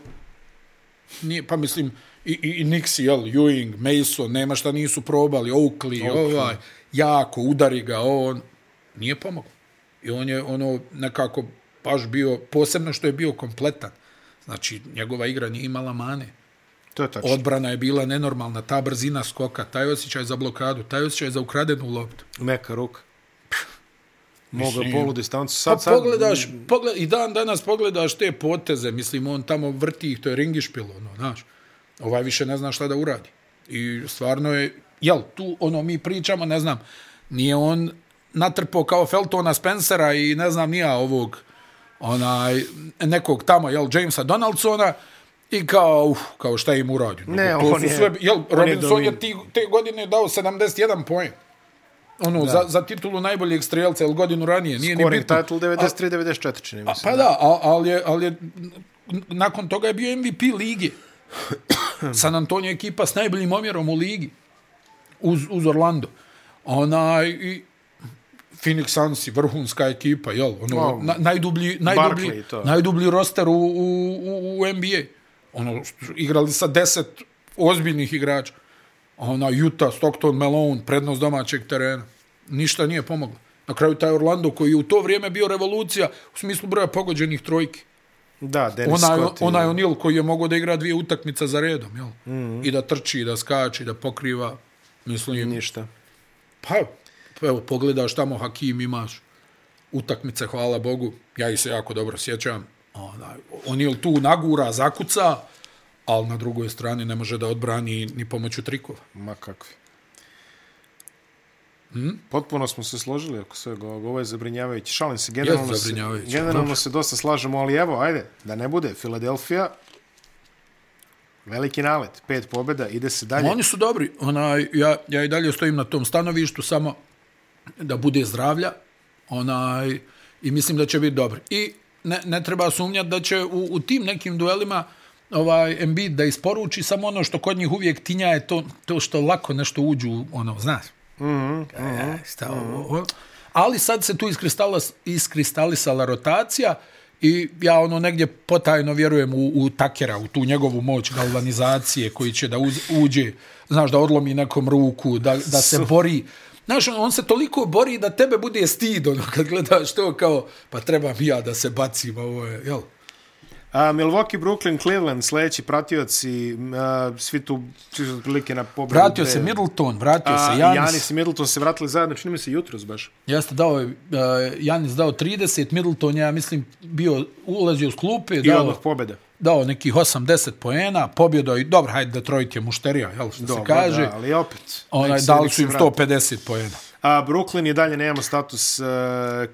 S2: nije, pa mislim, i, i, i Nixi, jel, Ewing, Mason, nema šta nisu probali, Oakley,
S1: Oakley.
S2: Oakley. ovaj, jako, udari ga, on, nije pomogao. I on je ono nekako baš bio, posebno što je bio kompletan. Znači, njegova igra nije imala mane.
S1: to je tačno.
S2: Odbrana je bila nenormalna, ta brzina skoka, taj osjećaj za blokadu, taj osjećaj za ukradenu loptu.
S1: Meka ruka. Mogao je
S2: Mislim-
S1: polu distancu.
S2: Pa
S1: Sad, sad,
S2: pogledaš, pogled, i dan danas pogledaš te poteze, mislim, on tamo vrti ih, to je ringišpil, ono, znaš. Ovaj više ne zna šta da uradi. I stvarno je, jel, tu, ono, mi pričamo, ne znam, nije on natrpao kao Feltona Spencera i ne znam nija ovog, onaj, nekog tamo, jel, Jamesa Donaldsona, I kao, uf, kao šta je im uradio.
S1: Ne,
S2: Nego, to
S1: on
S2: su
S1: je-
S2: sve, jel,
S1: on je
S2: Robinson je,
S1: domin-
S2: ti, te godine dao 71 poen. Ono, za, za titulu najboljeg strelca, ili godinu ranije, nije ni
S1: Scoring
S2: bitno.
S1: title 93-94, čini mi se.
S2: Pa da, a- ali je, ali je, n- nakon toga je bio MVP ligi. San Antonio je ekipa s najboljim omjerom u ligi. Uz, uz Orlando. Ona i Phoenix Suns i vrhunska ekipa, jel? Ono,
S1: Wow.
S2: na, najdublji, najdublji,
S1: Barkley, to.
S2: najdublji roster u, u, u, u NBA. Ono, što- igrali sa deset ozbiljnih igrača. Ona, Utah, Stockton, Malone, prednost domaćeg terena. Ništa nije pomoglo. Na kraju taj Orlando koji je u to vrijeme bio revolucija u smislu broja pogođenih trojki.
S1: Da, Dennis
S2: Onaj,
S1: Scott. i-
S2: onaj O'Neal koji je mogao da igra dvije utakmice za redom, jel? Mm
S1: Mhm.
S2: -hmm. I da trči, i da skače, i da pokriva. Mislim,
S1: Ništa.
S2: Pa, pa evo, pogledaš tamo Hakim imaš utakmice, hvala Bogu. Ja ih se jako dobro sjećam. Onaj, on je tu nagura, zakuca, ali na drugoj strani ne može da odbrani ni pomoću trikova.
S1: Ma kakvi. Hmm? Potpuno smo se složili oko svega ovoga. Ovo je zabrinjavajuće. Šalim se, generalno, se,
S2: zabrinjavajuće.
S1: generalno
S2: Dobro.
S1: se dosta slažemo, ali evo, ajde, da ne bude. Filadelfija, veliki nalet, pet pobjeda, ide se dalje.
S2: Oni su dobri. Onaj, ja, ja i dalje stojim na tom stanovištu, samo da bude zdravlja Onaj, I mislim da će biti dobar. I ne, ne treba sumnjati da će u, u tim nekim duelima ovaj Embiid da isporuči samo ono što kod njih uvijek tinja je to, to što lako nešto uđu, u ono, znaš. Mm -hmm. Šta,
S1: Mhm.
S2: ovo, ovo. Ali sad se tu iskristala- iskristalisala rotacija i ja ono negdje potajno vjerujem u, u Takera, u tu njegovu moć galvanizacije koji će da uz, uđe, znaš, da odlomi nekom ruku, da, da se bori. Znaš, on, on se toliko bori da tebe bude stid, ono, kad gledaš to kao, pa trebam i ja da se bacim, ovo je, jel?
S1: A, Milwaukee, Brooklyn, Cleveland, sledeći pratioci, a, svi tu svi su otprilike na pobedu.
S2: Vratio
S1: te-
S2: se Middleton, vratio
S1: a,
S2: se
S1: Janis.
S2: Janis.
S1: Janis i Middleton se vratili zajedno, čini mi se jutros baš.
S2: Jeste dao je, uh, Janis dao 30, Middleton je, ja mislim, bio, ulazio s klupe,
S1: I
S2: dao,
S1: odmah pobeda.
S2: dao nekih 8-10 poena, pobjedao i, dobro, hajde, Detroit je mušterija, jel, što Dobre,
S1: Dobro,
S2: se kaže.
S1: Da, ali opet.
S2: Onaj,
S1: nek se-
S2: dali
S1: nek
S2: su
S1: se
S2: im
S1: vrate.
S2: 150 poena.
S1: A Brooklyn i dalje nemamo status uh,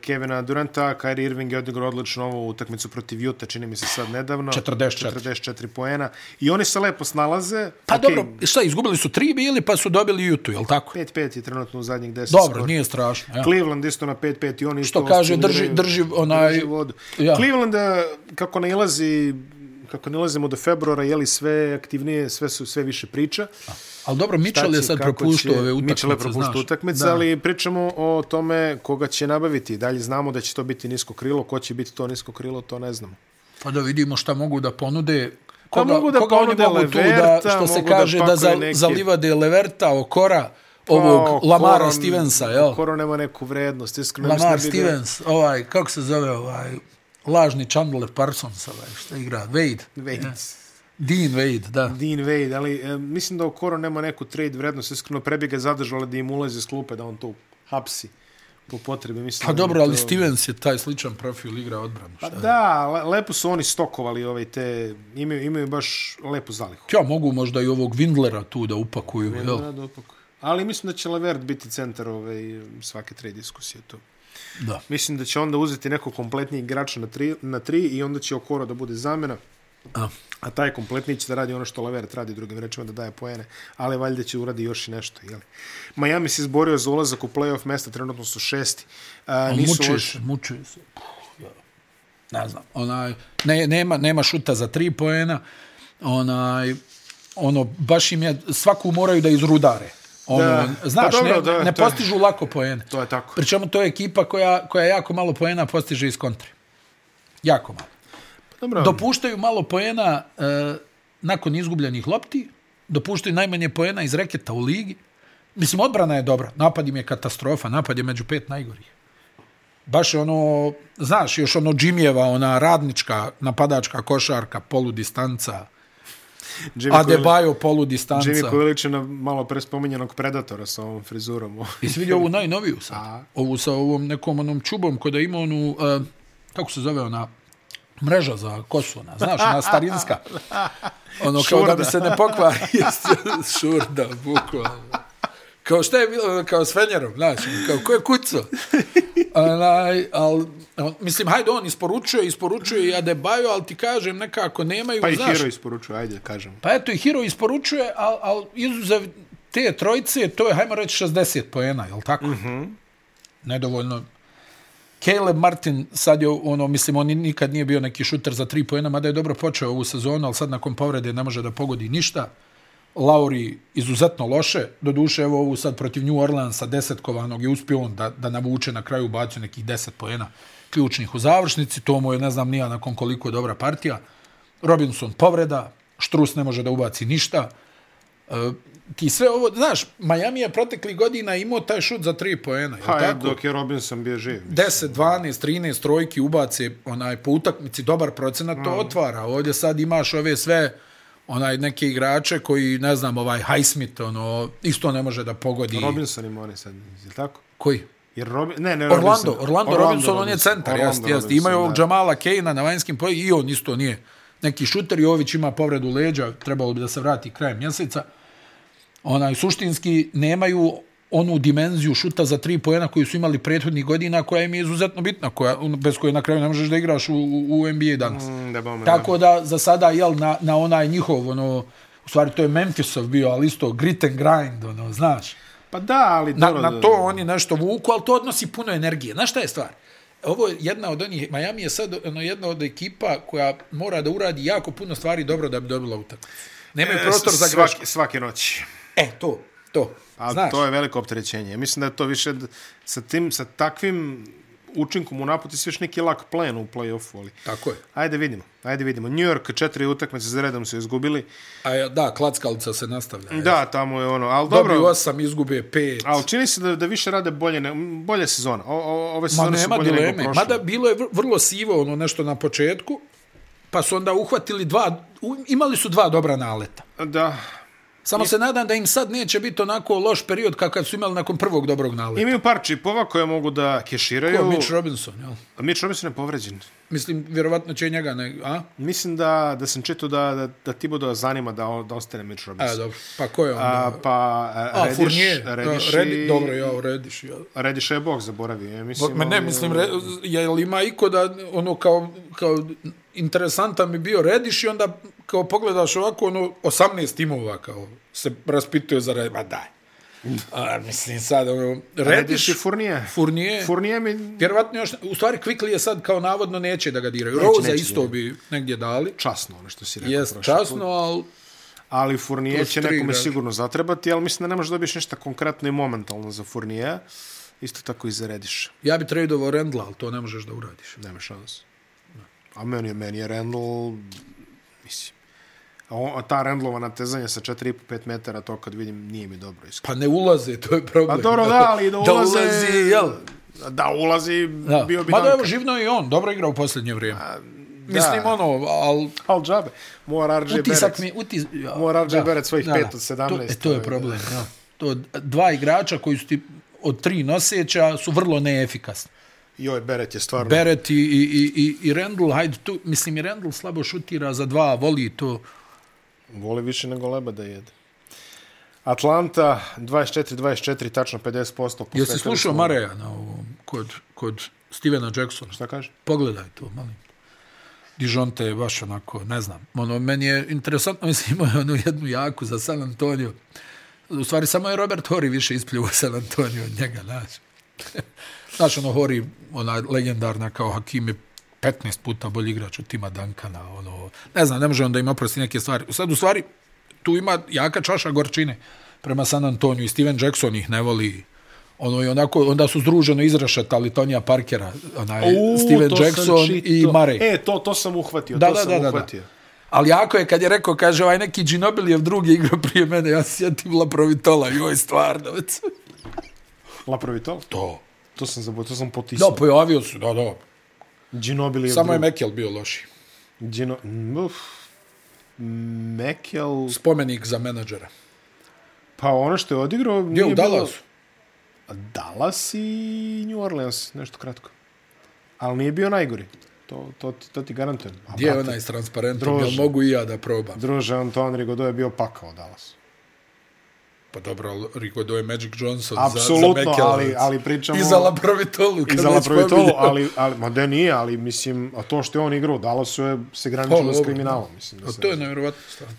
S1: Kevina Duranta, Kyrie Irving je odigrao odlično ovu utakmicu protiv Juta, čini mi se sad nedavno.
S2: 44.
S1: 44 poena. I oni se lepo snalaze.
S2: Pa
S1: Okej,
S2: okay. dobro, šta, izgubili su tri bili, pa su dobili Jutu, jel tako?
S1: 5-5 je trenutno u zadnjih 10
S2: Dobro,
S1: skoro.
S2: nije strašno. Ja.
S1: Cleveland isto na 5-5 i oni isto...
S2: Što kaže,
S1: osciliraju,
S2: drži- drži onaj-
S1: drži vodu.
S2: Ja.
S1: Cleveland, eh, kako ne ilazi kako ne do februara, jeli sve aktivnije, sve su sve više priča.
S2: Ali dobro, Mitchell je
S1: će,
S2: sad
S1: kako
S2: propuštao
S1: će-
S2: ove utakmice,
S1: Mitchell je propuštao
S2: znaš.
S1: utakmice,
S2: Da.
S1: ali pričamo o tome koga će nabaviti. Dalje znamo da će to biti nisko krilo, ko će biti to nisko krilo, to ne znamo.
S2: Pa da vidimo šta mogu da ponude.
S1: Pa
S2: Koga,
S1: mogu da
S2: koga
S1: ponude
S2: oni mogu tu da,
S1: Leverta,
S2: što se
S1: mogu da
S2: kaže, da,
S1: pakuju
S2: za,
S1: neke-
S2: zalivade Leverta, Okora, ovog
S1: Pa,
S2: Lamara
S1: Okoro-
S2: Stevensa, jel?
S1: Okoro nema neku vrednost, iskreno. mislim
S2: Lamar
S1: da bi ga-
S2: Stevens, ovaj, kako se zove ovaj, lažni Chandler Parsons, ovaj, šta igra, Wade,
S1: Wade.
S2: Dean Wade, da.
S1: Dean Wade, ali e, mislim da Okoro nema neku trade vrednost, iskreno prebjega zadržala da im ulazi s klupe, da on to hapsi po potrebi. Mislim da
S2: Pa
S1: bi
S2: dobro, ali
S1: to-
S2: Stevens je taj sličan profil igra odbranu.
S1: Pa
S2: Šta?
S1: da, le, lepo su oni stokovali ovaj te, imaju, imaju baš lepu zalihu.
S2: Ja mogu možda i ovog Windlera tu da upakuju, jel?
S1: Rado upak- Ali mislim da će Levert biti centar ovaj, svake tri diskusije tu.
S2: Da.
S1: Mislim da će onda uzeti neko kompletniji igrača na tri, na tri i onda će Okoro da bude zamena.
S2: A.
S1: A taj kompletni će da radi ono što Levert radi drugim rečima da daje poene, ali valjda će uradi još i nešto. Jeli? Miami se izborio za ulazak u playoff mesta, trenutno su šesti. A,
S2: A
S1: nisu
S2: muče
S1: loši.
S2: se, muče se. Puh, ja. Ne znam. Onaj, ne, nema, nema šuta za tri poena. Onaj, ono, baš im je, svaku moraju da izrudare. Ono,
S1: Da.
S2: Znaš,
S1: Pa dobro,
S2: ne,
S1: da,
S2: ne
S1: to je-
S2: postižu lako poene.
S1: To je tako.
S2: Pričemu to je ekipa koja, koja jako malo poena postiže iz kontre. Jako malo.
S1: Dobro,
S2: Dopuštaju malo poena e, nakon izgubljenih lopti, dopuštaju najmanje poena iz reketa u ligi. Mislim, odbrana je dobra, napad im je katastrofa, napad je među pet najgorih. Baš je ono, znaš, još ono Džimijeva, ona radnička, napadačka košarka, poludistanca,
S1: Jimmy Coyle-
S2: Adebayo
S1: Jimmy
S2: poludistanca.
S1: koji liče na malo pre spominjenog Predatora sa ovom
S2: [laughs]
S1: frizurom.
S2: I svidio ovu najnoviju sad. Ovu sa ovom nekom onom čubom koja da ima onu, e, kako se zove ona, mreža za kosu, ona, znaš, ona starinska. Ono kao da mi se ne pokvari. [laughs] Šurda, bukvalno. Kao šta je bilo, ono, kao s Fenjerom, znaš, ono, kao ko je kuco? Onaj, al, al, mislim, hajde, on isporučuje, isporučuje i Adebayo, ali ti kažem, nekako nemaju,
S1: Pa i
S2: znaš,
S1: Hero isporučuje, ajde, kažem.
S2: Pa eto i Hiro isporučuje, ali al izuzev te trojice, to je, hajmo reći, 60 poena, jel tako? Mm -hmm. Nedovoljno. Caleb Martin sad je, ono, mislim, on nikad nije bio neki šuter za tri poena, mada je dobro počeo ovu sezonu, ali sad nakon povrede ne može da pogodi ništa. Lauri izuzetno loše, doduše evo ovu sad protiv New Orleansa desetkovanog je uspio on da, da navuče na kraju bacio nekih 10 poena ključnih u završnici, to mu je ne znam nija nakon koliko dobra partija. Robinson povreda, Štrus ne može da ubaci ništa. E, ti sve ovo, znaš, Miami je protekli godina imao taj šut za 3 poena, je
S1: Pa
S2: tako?
S1: je, dok je Robinson bio živ.
S2: 10, 12, 13 trojki ubace onaj po utakmici dobar procenat to otvara. Ovdje sad imaš ove sve onaj neke igrače koji ne znam ovaj Highsmith ono isto ne može da pogodi.
S1: Robinson ima oni sad, je li tako?
S2: Koji?
S1: Jer Robin, ne, ne,
S2: Orlando,
S1: Robinson.
S2: Orlando, Orlando Robinson, on je centar, jest, jest. Imaju ovog
S1: da.
S2: Jamala Kejna na vanjskim polju i on isto nije neki šuter. Jović ima povredu leđa, trebalo bi da se vrati krajem mjeseca. Onaj, suštinski nemaju onu dimenziju šuta za tri pojena koju su imali prethodnih godina, koja im je izuzetno bitna, koja, bez koje na kraju ne možeš da igraš u, u, u NBA danas.
S1: Mm, Da, bome, Tako.
S2: Tako da za sada jel na, na onaj njihov ono u stvari to je Memphisov bio, ali isto grit and grind ono, znaš.
S1: Pa da, ali...
S2: Na,
S1: dobro,
S2: na to oni nešto vuku, ali to odnosi puno energije. Znaš šta je stvar? Ovo je jedna od onih, Miami je sad ono, jedna od ekipa koja mora da uradi jako puno stvari dobro da bi dobila utakmicu.
S1: E,
S2: Nemaju prostor za grešku.
S1: svake, svake noći.
S2: E, to, to.
S1: A
S2: Znaš,
S1: Pa, to je veliko opterećenje. Mislim da je to više d- sa, tim, sa takvim učinkom u napad ti si još neki lak plen u play-offu, ali...
S2: tako je.
S1: Ajde vidimo, ajde vidimo. New York četiri utakmice za redom su izgubili.
S2: A, da, klackalica se nastavlja. Da,
S1: Da, tamo je ono, ali dobro.
S2: Dobiju osam, izgube pet.
S1: Ali čini se da, da više rade bolje, ne, bolje sezona. O, o, ove
S2: Ma
S1: sezone su
S2: nema
S1: bolje nego
S2: dileme.
S1: prošle.
S2: Mada bilo je vr- vrlo sivo ono nešto na početku, pa su onda uhvatili dva, u- imali su dva dobra naleta.
S1: Da.
S2: Samo se nadam da im sad neće biti onako loš period kakav su imali nakon prvog dobrog naleta.
S1: Imaju par čipova koje mogu da keširaju.
S2: Ko Mitch Robinson, jel?
S1: A Mitch Robinson je povređen.
S2: Mislim, vjerovatno će njega, ne, a?
S1: Mislim da, da sam čitao da, da, da Tiboda zanima da, on- da ostane Mitch
S2: A,
S1: Robinson.
S2: dobro. Pa ko je onda?
S1: A, pa
S2: A,
S1: Rediš,
S2: Fournier.
S1: Rediš,
S2: Rediš, Redi, dobro, ja, Rediš. Ja.
S1: Rediš je bog zaboravio. Ja mislim,
S2: Ma ne,
S1: ali-
S2: mislim, re, je li ima iko da, ono, kao, kao interesantan mi bio Rediš i onda, kao pogledaš ovako, ono, 18 timova, kao, se raspituje za Rediš. Ma daj. A, mislim, sad, ono,
S1: Rediš
S2: Rediš,
S1: i Fournier.
S2: Fournier,
S1: Fournier mi
S2: vjerovatno još, u stvari, Quickly je sad, kao, navodno, neće da ga diraju. Roza
S1: neće
S2: isto bi negdje dali.
S1: časno ono što si rekao.
S2: Jest,
S1: prošli put.
S2: časno, ali
S1: Ali Fournier
S2: Plus
S1: će
S2: tri
S1: nekome
S2: igrača.
S1: sigurno zatrebati, ali mislim da ne možeš dobiješ ništa konkretno i momentalno za Fournier. Isto tako i za Rediša.
S2: ja bi tradeovao Rendla, ali to ne možeš da uradiš.
S1: Nema šans. A meni je, meni je Randall, mislim, a, on, a ta Randallova natezanja sa 4,5-5 metara, to kad vidim, nije mi dobro iskreno.
S2: Pa ne ulaze, to je problem.
S1: Pa dobro, da, ali da ulaze...
S2: Da ulazi, jel?
S1: Da ulazi, da.
S2: Da.
S1: bio bi
S2: Mada
S1: Mada
S2: evo, živno je i on, dobro igra u posljednje vrijeme. A, Mislim,
S1: da.
S2: ono, ali
S1: Al džabe. Mora RJ
S2: utisak
S1: Berec.
S2: mi... Utis, ja,
S1: Mora RJ Barrett svojih pet od 17,
S2: To, e, to je
S1: ovaj,
S2: problem, da. To, dva igrača koji su ti od tri noseća su vrlo neefikasni.
S1: Joj, Beret je stvarno... Ber...
S2: Beret i, i, i, i, i Rendl, hajde tu, mislim i Rendl slabo šutira za dva, voli to.
S1: Voli više nego leba da jede. Atlanta 24-24, tačno 50%. posvetili
S2: Jesi slušao
S1: smo-
S2: Mareja na ovom, kod, kod Stevena Jacksona?
S1: Šta kaže?
S2: Pogledaj to, molim. Dijonte je baš onako, ne znam. Ono, meni je interesantno, [laughs] mislim, imao je onu jednu jaku za San Antonio. U stvari, samo je Robert Hori više ispljuo San Antonio od njega, znaš. [laughs] znaš, ono, Hori, ona legendarna kao Hakim je 15 puta bolji igrač od tima Duncana, ono, ne znam, ne može on da ima oprosti neke stvari. Sad, u stvari, tu ima jaka čaša gorčine prema San Antonio i Steven Jackson ih ne voli. Ono, i onako, onda su združeno izrašatali Tonija Parkera, onaj,
S1: U,
S2: E, Steven
S1: to sam
S2: Jackson i
S1: čitao.
S2: Murray.
S1: E, to, to sam uhvatio,
S2: Da,
S1: to
S2: da,
S1: sam
S2: da, da, da.
S1: uhvatio.
S2: Ali jako je kad je rekao, kaže, ovaj neki Ginobilijev drugi igra prije mene, ja se sjetim Laprovitola, joj, stvarno. već.
S1: Lapravi to?
S2: To.
S1: To sam zaboravio, to sam potisao.
S2: Da, pojavio su, da, da.
S1: Ginobili je
S2: Samo je
S1: drugi.
S2: Mekel bio loši.
S1: Gino... mm, Uf. Mekel...
S2: Spomenik za menadžera.
S1: Pa ono što je odigrao...
S2: Gdje
S1: nije
S2: u
S1: bilo-
S2: Dallasu?
S1: Dallas i New Orleans, nešto kratko. Ali nije bio najgori. To, to, ti- to ti garantujem. A
S2: Gdje je
S1: brate,
S2: onaj s transparentom? Jel
S1: Druže.
S2: mogu i ja da probam?
S1: Druže, Antoine Rigodo je bio pakao Dallas.
S2: Pa dobro, ali Rigodo je Magic Johnson za, za
S1: Apsolutno,
S2: Mekel.
S1: ali, ali pričamo...
S2: I za Laprovitolu.
S1: I
S2: kad
S1: za
S2: već
S1: Laprovitolu,
S2: spominjemo.
S1: ali, ali, ma da nije, ali mislim, a to što je on igrao u Dallasu je se
S2: Pa,
S1: graničilo
S2: dobro,
S1: s
S2: da.
S1: kriminalom, mislim. Da
S2: A
S1: se,
S2: Pa to je nevjerovatno stvarno.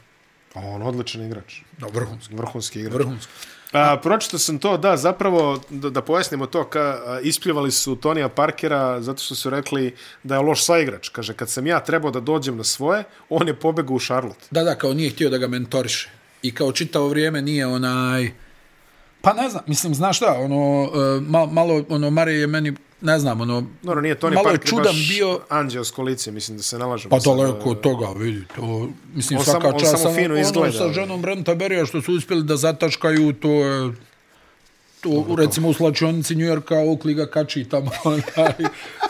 S1: a on odličan igrač,
S2: Da, vrhunski.
S1: vrhunski igrač.
S2: Vrhunski.
S1: A, pročito sam to, da, zapravo, da, da pojasnimo to, ka, a, ispljevali su Tonija Parkera zato što su rekli da je loš saigrač. Kaže, kad sam ja trebao da dođem na svoje, on je pobegao u Charlotte.
S2: Da, da, kao nije htio da ga mentoriše. I kao čitavo vrijeme nije onaj... Pa ne znam, mislim, znaš šta, ono, e, ma, malo, ono, Mare je meni, ne znam, ono...
S1: Dobro, nije Tony
S2: Malo je
S1: Parker
S2: čudan
S1: baš
S2: bio-
S1: anđelsko lice, mislim da se nalažemo.
S2: Pa
S1: sad,
S2: daleko
S1: e,
S2: od toga, vidi, to, mislim,
S1: On
S2: svaka
S1: samo- on
S2: čast,
S1: samo fino izgleda,
S2: Ono
S1: ali.
S2: sa ženom Brenta Berija što su uspjeli da zataškaju, to je, to, recimo, u slačionici Njujorka, Oakley ga kači tamo, [laughs] onaj,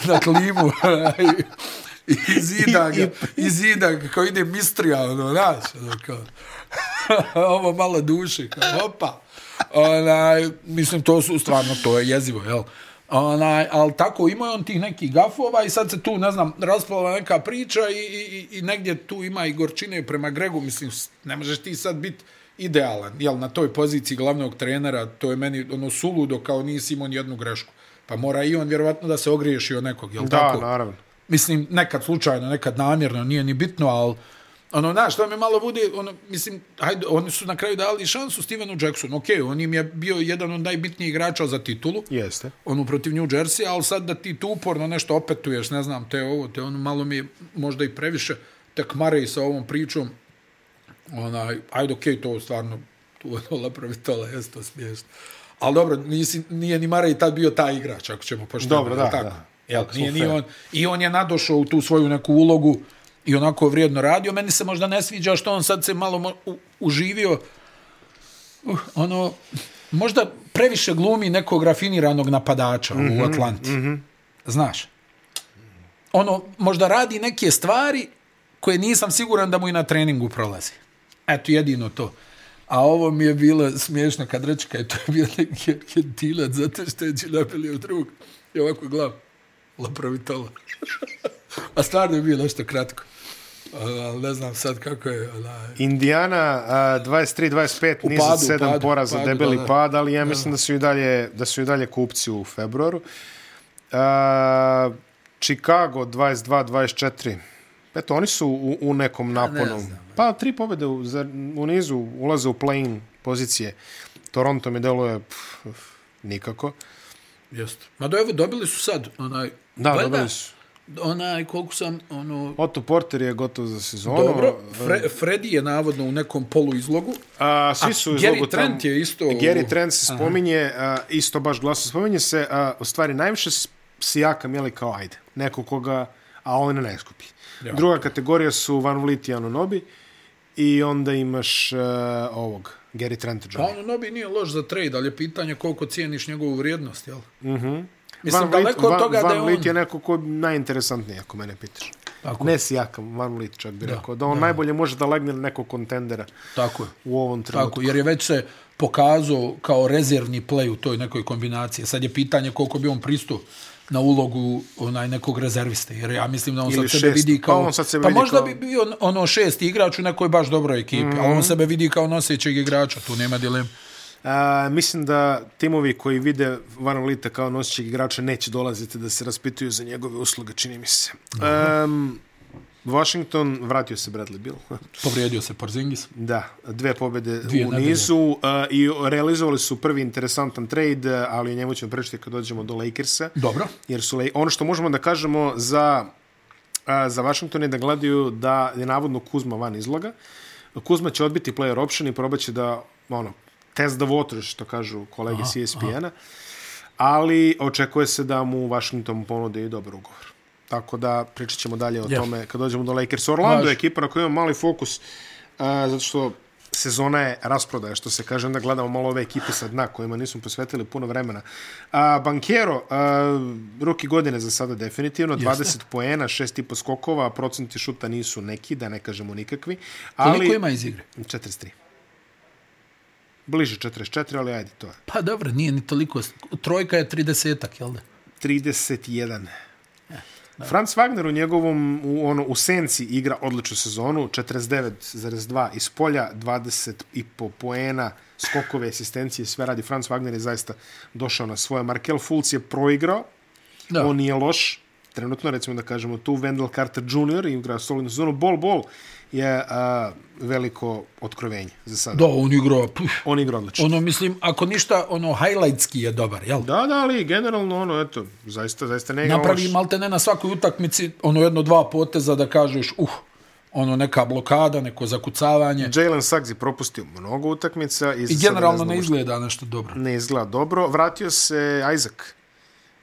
S2: na klimu, onaj, i zida ga, i zida ga, kao ide mistrija, ono, znaš, ono, kao, [laughs] ovo malo duše, kao, opa. Onaj, mislim, to su stvarno, to je jezivo, jel? Onaj, ali tako ima on tih nekih gafova i sad se tu, ne znam, rasplala neka priča i, i, i- i negdje tu ima i gorčine prema Gregu, mislim, s- ne možeš ti sad biti idealan, jel, na toj poziciji glavnog trenera, to je meni ono suludo kao nisi imao ni jednu grešku. Pa mora i on vjerovatno da se ogriješi od nekog, jel
S1: Da,
S2: tako?
S1: naravno.
S2: Mislim, nekad slučajno, nekad namjerno, nije ni bitno, ali Ono, znaš, to mi malo bude, ono, mislim, hajde, oni su na kraju dali šansu Stevenu Jacksonu. Ok, on im je bio jedan od najbitnijih igrača za titulu,
S1: Jeste.
S2: ono, protiv New Jersey, ali sad da ti tu uporno nešto opetuješ, ne znam, te ovo, te ono, malo mi je možda i previše takmare sa ovom pričom. Onaj, ajde, ok, to stvarno, tu je [laughs] dola pravi tola, jeste to smiješno. Ali dobro, nisi, nije ni Marej tad bio taj igrač, ako ćemo pošteno.
S1: Dobro,
S2: jel
S1: da,
S2: tako?
S1: da.
S2: Jel,
S1: Tako smo
S2: nije,
S1: fair.
S2: nije on, I on je nadošao u tu svoju neku ulogu i onako vrijedno radio. Meni se možda ne sviđa što on sad se malo mo- u, uživio. Uh, ono, možda previše glumi nekog rafiniranog napadača mm -hmm, u Atlanti. Mm -hmm. Znaš? Ono, možda radi neke stvari koje nisam siguran da mu i na treningu prolazi. Eto, jedino to. A ovo mi je bilo smiješno kad reći kad je to bio neki argentilac zato što je Đilapelio drug. I ovako glav. Laprovitola. [laughs] A stvarno je bilo nešto kratko. Uh, ne znam sad kako je. Onaj,
S1: Indiana a, 23-25,
S2: U
S1: niz od
S2: padu, u
S1: sedam
S2: padu,
S1: poraza,
S2: padu,
S1: debeli
S2: da, da.
S1: pad, ali ja mislim da su i dalje, da su i dalje kupci u februaru. A, Chicago 22-24. Eto, oni su u, u nekom naponu. Ne
S2: znam.
S1: pa tri pobjede u, za, u nizu, ulaze u play-in pozicije. Toronto mi deluje pff, nikako.
S2: Jeste. Ma do, evo, dobili su sad onaj...
S1: Da,
S2: valjda,
S1: dobili su.
S2: Onaj, koliko sam, ono...
S1: Otto Porter je gotov za sezonu.
S2: Dobro,
S1: e,
S2: Fre, Freddy je navodno u nekom polu izlogu.
S1: A, svi su
S2: A,
S1: izlogu
S2: Gary Trent je isto-
S1: Gary Trent se spominje, a, isto baš glasno spominje se, a, u stvari najviše s- Sijakam je li kao ajde, neko koga, a on ne skupi.
S2: Ja.
S1: Druga kategorija su Van Vliet i Anunobi i onda imaš a, ovog, Gary Trent
S2: Pa
S1: Jr.
S2: ono, Nobi nije loš za trade, ali je pitanje koliko cijeniš njegovu vrijednost, jel? Mhm. Mislim,
S1: Van Vliet-
S2: daleko od
S1: Van-
S2: toga
S1: Van
S2: da je on...
S1: Vliet je neko ko je najinteresantniji, ako mene pitaš.
S2: Tako,
S1: Ne Sijakam, Van Vliet čak bi
S2: Da,
S1: rekao, da on najbolje može da legne na nekog kontendera
S2: tako je.
S1: u ovom trenutku.
S2: Tako, jer je već se pokazao kao rezervni play u toj nekoj kombinaciji. Sad je pitanje koliko bi on pristao na ulogu onaj nekog rezerviste, jer ja mislim da on
S1: Ili
S2: sad sebe
S1: šesti.
S2: vidi
S1: Pa
S2: kao...
S1: on sad sebe
S2: pa
S1: vidi
S2: možda
S1: kao-
S2: bi bio on- ono šesti igrač u nekoj baš dobroj ekipi, mm -hmm. ali on sebe vidi kao nosećeg igrača, tu nema dilema.
S1: A, mislim da timovi koji vide Van Vlita kao nosećeg igrača neće dolaziti da se raspituju za njegove usluge, čini mi se. Um, Washington, vratio se Bradley Bill.
S2: Povrijedio se Porzingis.
S1: da, dve pobjede
S2: Dvije
S1: u
S2: nedelje.
S1: nizu uh, i realizovali su prvi interesantan trade, eh, ali o njemu ćemo pričati kad dođemo do Lakersa.
S2: Dobro.
S1: Jer su, Lak- ono što možemo da kažemo za, a, za Washington je da gledaju da je navodno Kuzma van izloga. Kuzma će odbiti player option i probaće da, ono, test the water, što kažu kolege E CSPN-a. Ali očekuje se da mu Washington ponude i dobar ugovor. Tako da pričat ćemo dalje o
S2: Jel.
S1: tome kad dođemo do Lakers. Orlando
S2: Važno.
S1: je ekipa na kojoj imamo mali fokus, a, zato što sezona je rasprodaja, što se kaže, onda gledamo malo ove ekipe sa dna kojima nismo posvetili puno vremena. A, Bankiero, a, ruki godine za sada definitivno, 20 poena, 6,5 skokova, a procenti šuta nisu neki, da ne kažemo nikakvi. Ali,
S2: Koliko ima iz igre?
S1: 43. Bliže 44, ali ajde, to je.
S2: Pa dobro, nije ni toliko. Trojka je 30-ak, jel da?
S1: 31.
S2: Eh,
S1: Franz Wagner u njegovom, u, ono, u senci igra odličnu sezonu, 49,2 iz polja, 20 i po poena, skokove, asistencije, sve radi. Franz Wagner je zaista došao na svoje. Markel Fulc je proigrao,
S2: Da.
S1: on nije loš, trenutno recimo da kažemo tu, Wendell Carter Jr. igra solidnu sezonu, Bol Bol je a, veliko otkrovenje za sada.
S2: Da, on igrao, puf,
S1: On igra odlično.
S2: ono mislim, ako ništa, ono highlightski je dobar, jel? Da,
S1: Da, da, ali generalno ono, eto, zaista, zaista ne igra
S2: Napravi
S1: loš.
S2: malte ne na svakoj utakmici, ono jedno dva poteza da kažeš, uh, ono neka blokada, neko zakucavanje.
S1: Jalen Suggs je propustio mnogo utakmica i,
S2: I
S1: sada
S2: generalno
S1: ne, znamo šta-
S2: ne izgleda nešto dobro.
S1: ne izgleda dobro. Vratio se Isaac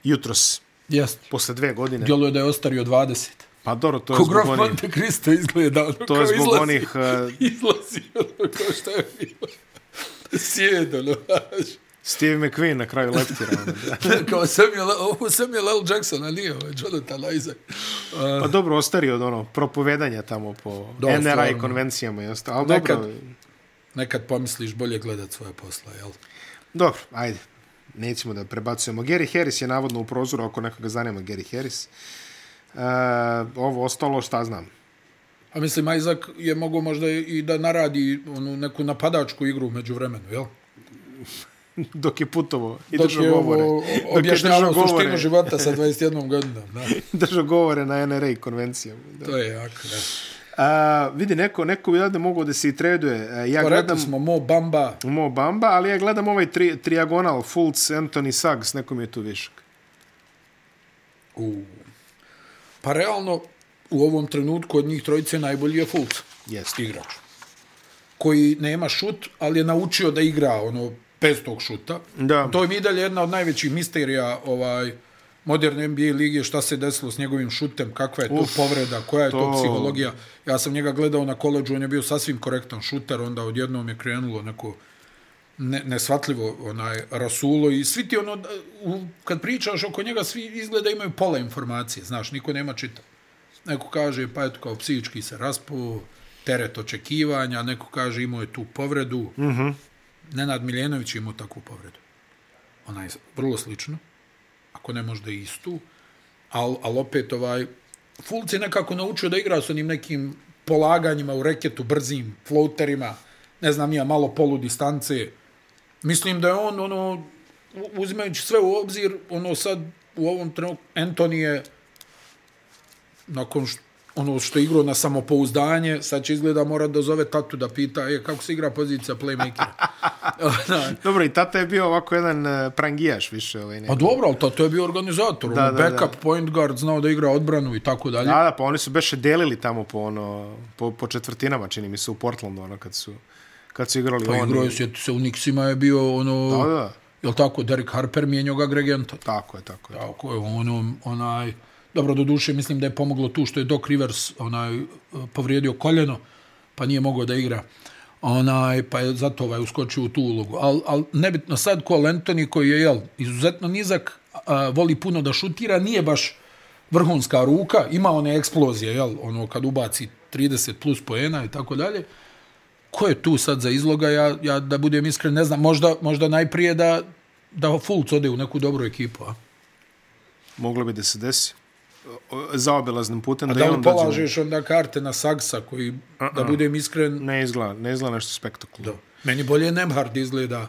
S1: jutros,
S2: Jeste.
S1: posle dve godine.
S2: Djeluje da je ostario 20.
S1: Pa dobro, to je
S2: Ko
S1: zbog
S2: grof
S1: onih,
S2: Monte Cristo izgleda, ono
S1: to
S2: kao
S1: je zbog
S2: izlazi,
S1: onih uh,
S2: izlazi, ono kao šta je bilo. Sjed, ono, znaš.
S1: Steve McQueen na kraju
S2: [laughs]
S1: leptira. ono, da.
S2: kao Samuel, ovo Samuel L. Jackson, a nije ovo, je Jonathan Isaac. Uh,
S1: Pa dobro, ostario od ono, propovedanja tamo po
S2: Da,
S1: NRA i
S2: stvarno.
S1: konvencijama i ostalo. Ali
S2: Nekad-
S1: dobro,
S2: nekad pomisliš bolje gledat svoje posla, jel?
S1: dobro, ajde. Nećemo da prebacujemo. Gary Harris je navodno u prozoru, ako nekoga zanima Gary Harris. Uh, ovo ostalo, šta znam.
S2: A mislim, Isaac je mogao možda i da naradi onu neku napadačku igru među vremenu, jel?
S1: Dok je putovo i
S2: Dok
S1: držao
S2: je [laughs]
S1: govore.
S2: ovo
S1: Dok je držao
S2: objašnjavao
S1: govore.
S2: suštinu
S1: [laughs]
S2: života sa 21 godinom. Da.
S1: držao govore na NRA konvencijama. Da.
S2: To je jako, da.
S1: A, vidi, neko, neko bi da mogu da se i traduje. A, Ja
S2: Pa
S1: gledam
S2: rekli smo Mo Bamba,
S1: Mo Bamba, ali ja gledam ovaj tri, triagonal, Fultz, Anthony Suggs, nekom je tu višak.
S2: u... pa realno u ovom trenutku od njih trojice najbolji je Fultz.
S1: Jeste.
S2: Igrač. Koji nema šut, ali je naučio da igra ono, bez tog šuta.
S1: Da.
S2: To je i dalje jedna od najvećih misterija ovaj, moderne NBA lige, šta se desilo s njegovim šutem, kakva je to
S1: Uf,
S2: povreda, koja je to...
S1: to-
S2: to psihologija. Ja sam njega gledao na koleđu, on je bio sasvim korektan šuter, onda odjednom je krenulo neko ne, nesvatljivo onaj rasulo i svi ti ono, u, kad pričaš oko njega, svi izgleda imaju pola informacije, znaš, niko nema čita. Neko kaže, pa eto, kao psihički se raspo, teret očekivanja, neko kaže, imao je tu povredu. Mm -hmm. Nenad Miljenović je imao takvu povredu. Ona je vrlo slična, ako ne možda i istu, ali al opet ovaj, Fulc je nekako naučio da igra s onim nekim polaganjima u reketu, brzim floaterima, ne znam ja, malo polu distance. Mislim da je on, ono, u- uzimajući sve u obzir, ono sad u ovom trenutku, Anthony je nakon što, ono što je igrao na samopouzdanje, sad će izgleda mora da zove tatu da pita e, kako se igra pozicija playmakera. [laughs] Onaj,
S1: Dobro, i tata je bio ovako jedan e, prangijaš više. Ovaj, ne.
S2: Pa dobro, ali to, to je bio organizator. Da,
S1: da,
S2: da, backup, da. point guard, znao da igra odbranu i tako dalje.
S1: Da, da, pa oni su beše delili tamo po, ono, po, po četvrtinama, čini mi se, u Portlandu, ono, kad su, kad su igrali.
S2: Pa
S1: oni.
S2: igrao je, sjeti se, u Nixima je bio ono...
S1: Da, da,
S2: Jel tako, Derek Harper mijenjao ga Gregenta.
S1: tako je, tako je.
S2: Tako je, ono, onaj... Dobro, do duše, mislim da je pomoglo tu što je Doc Rivers onaj, eh, povrijedio koljeno, pa nije mogao da igra. Onaj, pa je zato ovaj uskočio u tu ulogu. Al, al nebitno sad ko Anthony koji je jel, izuzetno nizak, a, voli puno da šutira, nije baš vrhunska ruka, ima one eksplozije, jel, ono kad ubaci 30 plus poena i tako dalje. Ko je tu sad za izloga, ja, ja da budem iskren, ne znam, možda, možda najprije da, da Fulc ode u neku dobru ekipu, a?
S1: Moglo bi da se desi. O, o, Zaobilaznim putem.
S2: Da
S1: i
S2: li
S1: on dođe na-
S2: polažeš onda karte na Sagsa koji, da budem iskren,
S1: Ne izgleda, ne izgleda nešto spektakularno.
S2: da. meni bolje Nemhard izgleda